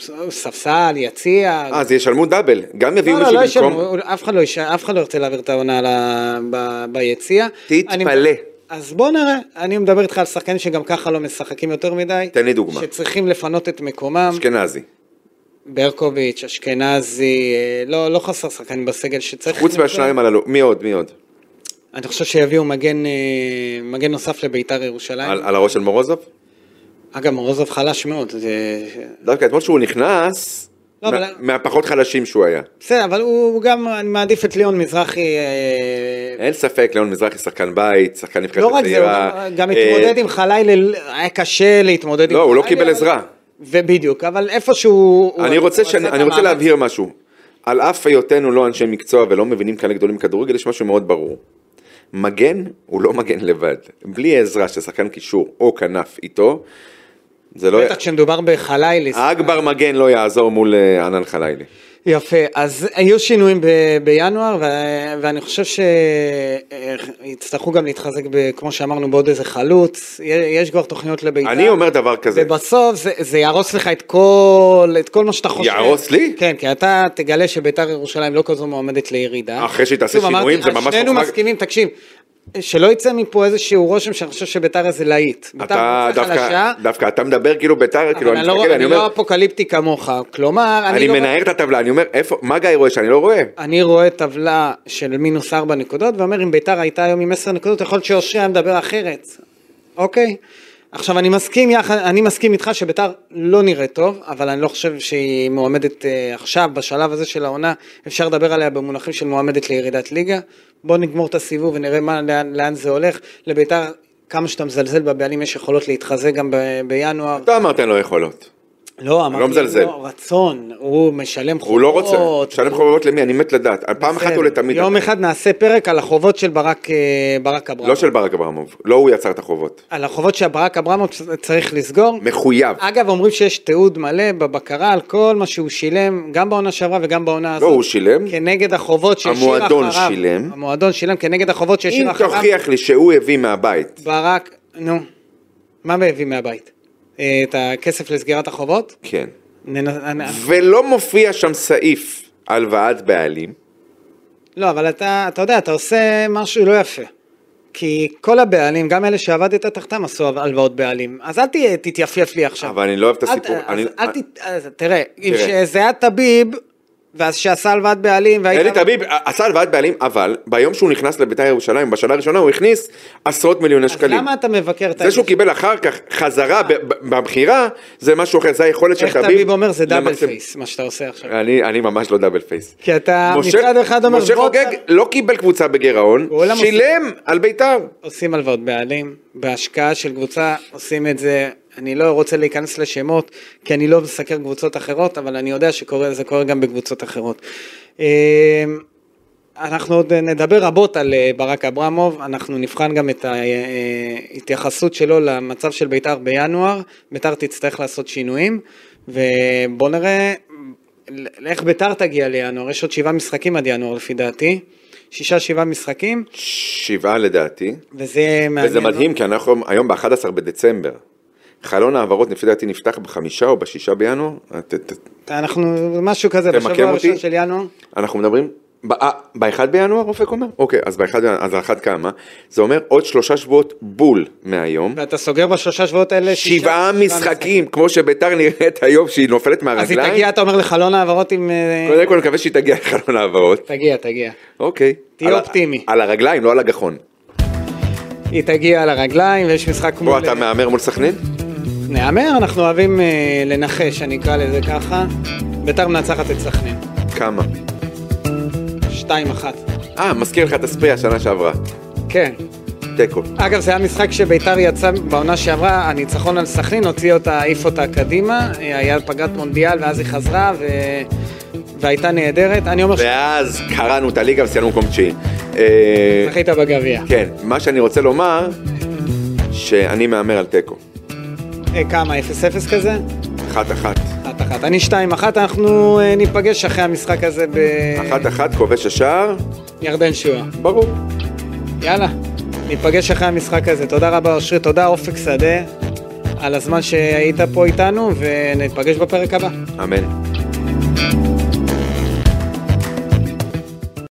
[SPEAKER 2] ס- ספסל, יציע.
[SPEAKER 3] אה, אז ישלמו דאבל, גם יביאו
[SPEAKER 2] לא, לא,
[SPEAKER 3] מישהו
[SPEAKER 2] לא
[SPEAKER 3] במקום...
[SPEAKER 2] ישלמו, אף אחד לא יש- אף אחד לא ירצה להעביר את העונה ל- ב- ביציע.
[SPEAKER 3] תתפלא.
[SPEAKER 2] אני- אז בוא נראה, אני מדבר איתך על שחקנים שגם ככה לא משחקים יותר מדי.
[SPEAKER 3] תן לי דוגמה.
[SPEAKER 2] שצריכים לפנות את מקומם.
[SPEAKER 3] אשכנזי.
[SPEAKER 2] ברקוביץ', אשכנזי, אה, לא, לא חסר שחקנים בסגל שצריך.
[SPEAKER 3] חוץ מהשניים הללו, מי עוד? מי עוד?
[SPEAKER 2] אני חושב שיביאו מגן, אה, מגן נוסף לביתר ירושלים.
[SPEAKER 3] על על הראש של מורוזוב?
[SPEAKER 2] אגב, מורוזוב חלש מאוד. זה...
[SPEAKER 3] דווקא אתמול שהוא נכנס,
[SPEAKER 2] לא,
[SPEAKER 3] מה-
[SPEAKER 2] אבל-
[SPEAKER 3] מהפחות חלשים שהוא היה.
[SPEAKER 2] בסדר, אבל הוא הוא גם, אני מעדיף את ליאון מזרחי. אה,
[SPEAKER 3] אין ספק, ליאון מזרחי שחקן בית, שחקן נבחרת
[SPEAKER 2] לא רק זה, הוא
[SPEAKER 3] הצעירה.
[SPEAKER 2] גם- גם
[SPEAKER 3] אה,
[SPEAKER 2] התמודד עם חלילה, היה קשה להתמודד עם
[SPEAKER 3] לא, הוא לא
[SPEAKER 2] חלילה,
[SPEAKER 3] קיבל
[SPEAKER 2] אבל-
[SPEAKER 3] עזרה.
[SPEAKER 2] ובדיוק, אבל איפשהו... הוא-
[SPEAKER 3] אני רוצה
[SPEAKER 2] הוא
[SPEAKER 3] שאני-
[SPEAKER 2] עשה את
[SPEAKER 3] אני רוצה
[SPEAKER 2] המאמץ.
[SPEAKER 3] להבהיר משהו. על אף היותנו לא אנשי מקצוע ולא מבינים כאלה גדולים בכדורגל, יש משהו מאוד ברור. מגן הוא לא מגן לבד. בלי העזרה של שחקן קישור או כנף איתו, זה לא...
[SPEAKER 2] בטח כשמדובר בחלילה.
[SPEAKER 3] אגבר מגן לא יעזור מול אה, ענן חלילי.
[SPEAKER 2] יפה, אז היו שינויים ב- בינואר, ו- ואני חושב שיצטרכו גם להתחזק, ב- כמו שאמרנו, בעוד איזה חלוץ, יה- יש כבר תוכניות לבית"ר.
[SPEAKER 3] אני אומר דבר כזה.
[SPEAKER 2] ובסוף זה, זה יהרוס לך את כל, את כל מה שאתה חושב.
[SPEAKER 3] יהרוס לי?
[SPEAKER 2] כן, כי אתה תגלה שביתר ירושלים לא כזו מועמדת לירידה.
[SPEAKER 3] אחרי שהיא תעשה
[SPEAKER 2] שוב, אמרתי,
[SPEAKER 3] שינויים, זה ממש
[SPEAKER 2] שנינו
[SPEAKER 3] חוכמה-
[SPEAKER 2] מסכימים, תקשיב. שלא יצא מפה איזשהו רושם שאני חושב שביתר זה להיט. ביתר
[SPEAKER 3] אתה
[SPEAKER 2] קבוצה
[SPEAKER 3] דווקא,
[SPEAKER 2] חלשה,
[SPEAKER 3] דווקא אתה מדבר כאילו ביתר,
[SPEAKER 2] אבל
[SPEAKER 3] כאילו אני
[SPEAKER 2] אני לא-
[SPEAKER 3] מסתכל, אני
[SPEAKER 2] אני לא
[SPEAKER 3] אומר,
[SPEAKER 2] אפוקליפטי כמוך, כלומר,
[SPEAKER 3] אני
[SPEAKER 2] לא-
[SPEAKER 3] מנער את הטבלה, אני אומר, איפה, מה גיא רואה שאני לא רואה?
[SPEAKER 2] אני רואה טבלה של מינוס 4 נקודות, ואומר אם ביתר הייתה היום עם 10 נקודות, יכול להיות שאושרי היה מדבר אחרת, אוקיי? עכשיו אני מסכים, יחד, אני מסכים איתך שביתר לא נראית טוב, אבל אני לא חושב שהיא מועמדת אה, עכשיו, בשלב הזה של העונה, אפשר לדבר עליה במונחים של מועמדת לירידת ליגה. בואו נגמור את הסיבוב ונראה מה, לאן, לאן זה הולך. לביתר, כמה שאתה מזלזל בבעלים, יש יכולות להתחזק גם ב, בינואר.
[SPEAKER 3] אתה אמרת אין לו יכולות.
[SPEAKER 2] לא, אמרתי,
[SPEAKER 3] לא מזלזל.
[SPEAKER 2] לא, רצון, הוא משלם חובות.
[SPEAKER 3] הוא לא רוצה. שלם חובבות למי? אני מת לדעת. פעם אחת
[SPEAKER 2] בסדר.
[SPEAKER 3] ולתמיד.
[SPEAKER 2] יום אחד נעשה פרק על החובות של ברק, אה, ברק אברמוב.
[SPEAKER 3] לא של ברק אברמוב. לא הוא יצר את החובות.
[SPEAKER 2] על החובות שברק אברמוב צ- צריך לסגור.
[SPEAKER 3] מחויב.
[SPEAKER 2] אגב, אומרים שיש תיעוד מלא בבקרה על כל מה שהוא שילם, גם בעונה שעברה וגם בעונה
[SPEAKER 3] לא,
[SPEAKER 2] הזאת.
[SPEAKER 3] הוא שילם.
[SPEAKER 2] כנגד החובות שהשאיר אחריו.
[SPEAKER 3] המועדון שילם.
[SPEAKER 2] המועדון שילם כנגד החובות
[SPEAKER 3] אם
[SPEAKER 2] שהשאיר אחריו.
[SPEAKER 3] תוכיח לי שהוא הביא מהבית.
[SPEAKER 2] ברק, נו, מה מביא מהבית? אה, את הכסף לסגירת החובות?
[SPEAKER 3] כן.
[SPEAKER 2] ננ-
[SPEAKER 3] ולא מופיע שם סעיף הלוואת בעלים.
[SPEAKER 2] לא, אבל אתה, אתה יודע, אתה עושה משהו לא יפה. כי כל הבעלים, גם אלה שעבדת תחתם עשו הלוואות בעלים. אז אל תהיה, תתייפייף לי עכשיו.
[SPEAKER 3] אבל אני לא אוהב את
[SPEAKER 2] אל-
[SPEAKER 3] הסיפור.
[SPEAKER 2] אז
[SPEAKER 3] אני-
[SPEAKER 2] אל ת... אז תראה, אם
[SPEAKER 3] תראה.
[SPEAKER 2] שזה היה טביב, ואז שעשה הלוואת בעלים, והיית...
[SPEAKER 3] אלי תביב עשה הלוואת בעלים, אבל ביום שהוא נכנס לבית"ר ירושלים, בשנה הראשונה הוא הכניס עשרות מיליוני
[SPEAKER 2] אז
[SPEAKER 3] שקלים.
[SPEAKER 2] למה אתה מבקר את
[SPEAKER 3] זה שהוא קיבל אחר כך חזרה ב- ב- במכירה, זה משהו אחר, זה היכולת של
[SPEAKER 2] איך
[SPEAKER 3] תביב.
[SPEAKER 2] תביב אומר זה דאבל
[SPEAKER 3] למקסם-
[SPEAKER 2] פייס, מה שאתה עושה עכשיו.
[SPEAKER 3] אני אני ממש לא דאבל פייס.
[SPEAKER 2] כי אתה
[SPEAKER 3] משה-
[SPEAKER 2] מצד אחד אומר,
[SPEAKER 3] משה
[SPEAKER 2] בוא
[SPEAKER 3] חוגג
[SPEAKER 2] ת-
[SPEAKER 3] לא קיבל קבוצה בגירעון,
[SPEAKER 2] כולם עושים-
[SPEAKER 3] שילם על בית"ר.
[SPEAKER 2] עושים הלוואות בעלים, בהשקעה של קבוצה עושים את זה, אני לא רוצה להיכנס לשמות, כי אני לא מסקר קבוצות אחרות, אבל אני יודע שזה קורה גם בקבוצות אחרות. אמ, אנחנו עוד נדבר רבות על אה, ברק אברמוב, אנחנו נבחן גם את ההתייחסות שלו למצב של בית"ר בינואר, בית"ר תצטרך לעשות שינויים, ובואו נראה איך בית"ר תגיע לינואר, יש עוד שבעה משחקים עד ינואר לפי דעתי, שישה שבעה משחקים,
[SPEAKER 3] שבעה לדעתי,
[SPEAKER 2] וזה מעניין. לא?
[SPEAKER 3] וזה מדהים כי אנחנו היום ב-11 בדצמבר. חלון ההעברות לפי דעתי נפתח בחמישה או בשישה בינואר. אה, ת- ת-
[SPEAKER 2] אנחנו משהו כזה
[SPEAKER 3] תמקם
[SPEAKER 2] בשבוע
[SPEAKER 3] אותי?
[SPEAKER 2] הראשון של ינואר.
[SPEAKER 3] אנחנו מדברים, ב- אה, ב-1 בינואר אופק אומר? אוקיי, אז ב-1 בינואר, אז על אחת כמה. זה אומר עוד שלושה שבועות בול מהיום.
[SPEAKER 2] ואתה סוגר בשלושה שבועות האלה שישה-
[SPEAKER 3] שבעה משחקים, כמו שביתר נראית היום שהיא נופלת
[SPEAKER 2] אז היא
[SPEAKER 3] מהרגליים.
[SPEAKER 2] תגיע, אתה אומר לחלון העברות עם... אה,
[SPEAKER 3] קודם כל נקווה שהיא תגיע לחלון העברות.
[SPEAKER 2] תגיע, תגיע.
[SPEAKER 3] אוקיי.
[SPEAKER 2] תהיה
[SPEAKER 3] על ה-
[SPEAKER 2] אופטימי.
[SPEAKER 3] על הרגליים, לא על הגחון.
[SPEAKER 2] היא תגיע על הרגליים ויש משחק
[SPEAKER 3] פה
[SPEAKER 2] מול... אה,
[SPEAKER 3] אתה מהמר מול סכנין?
[SPEAKER 2] נהמר, אנחנו אוהבים אה, לנחש, אני אקרא לזה ככה. ביתר מנצחת את סכנין.
[SPEAKER 3] כמה?
[SPEAKER 2] 2-1.
[SPEAKER 3] אה, מזכיר לך את הספרי השנה שעברה.
[SPEAKER 2] כן.
[SPEAKER 3] תיקו.
[SPEAKER 2] אגב, זה היה משחק שביתר יצא בעונה שעברה, הניצחון על סכנין הוציא אותה, העיף אותה קדימה, אה, היה פגרת מונדיאל ואז היא חזרה ו... והייתה נהדרת. אני אומר
[SPEAKER 3] ואז קראנו את הליגה וסיימנו מקום תשיעי. אה,
[SPEAKER 2] שזכית בגביע.
[SPEAKER 3] כן, מה שאני רוצה לומר, שאני מהמר על תיקו.
[SPEAKER 2] אה, כמה? 0-0 כזה?
[SPEAKER 3] אחת אחת.
[SPEAKER 2] 1-1. אחת. אני שתיים אחת, אנחנו אה, ניפגש אחרי המשחק הזה
[SPEAKER 3] אחת אחת כובש השער,
[SPEAKER 2] בירדן שואה.
[SPEAKER 3] ברור.
[SPEAKER 2] יאללה, ניפגש אחרי המשחק הזה. תודה רבה אושרי, תודה אופק שדה על הזמן שהיית פה איתנו, וניפגש בפרק הבא.
[SPEAKER 3] אמן.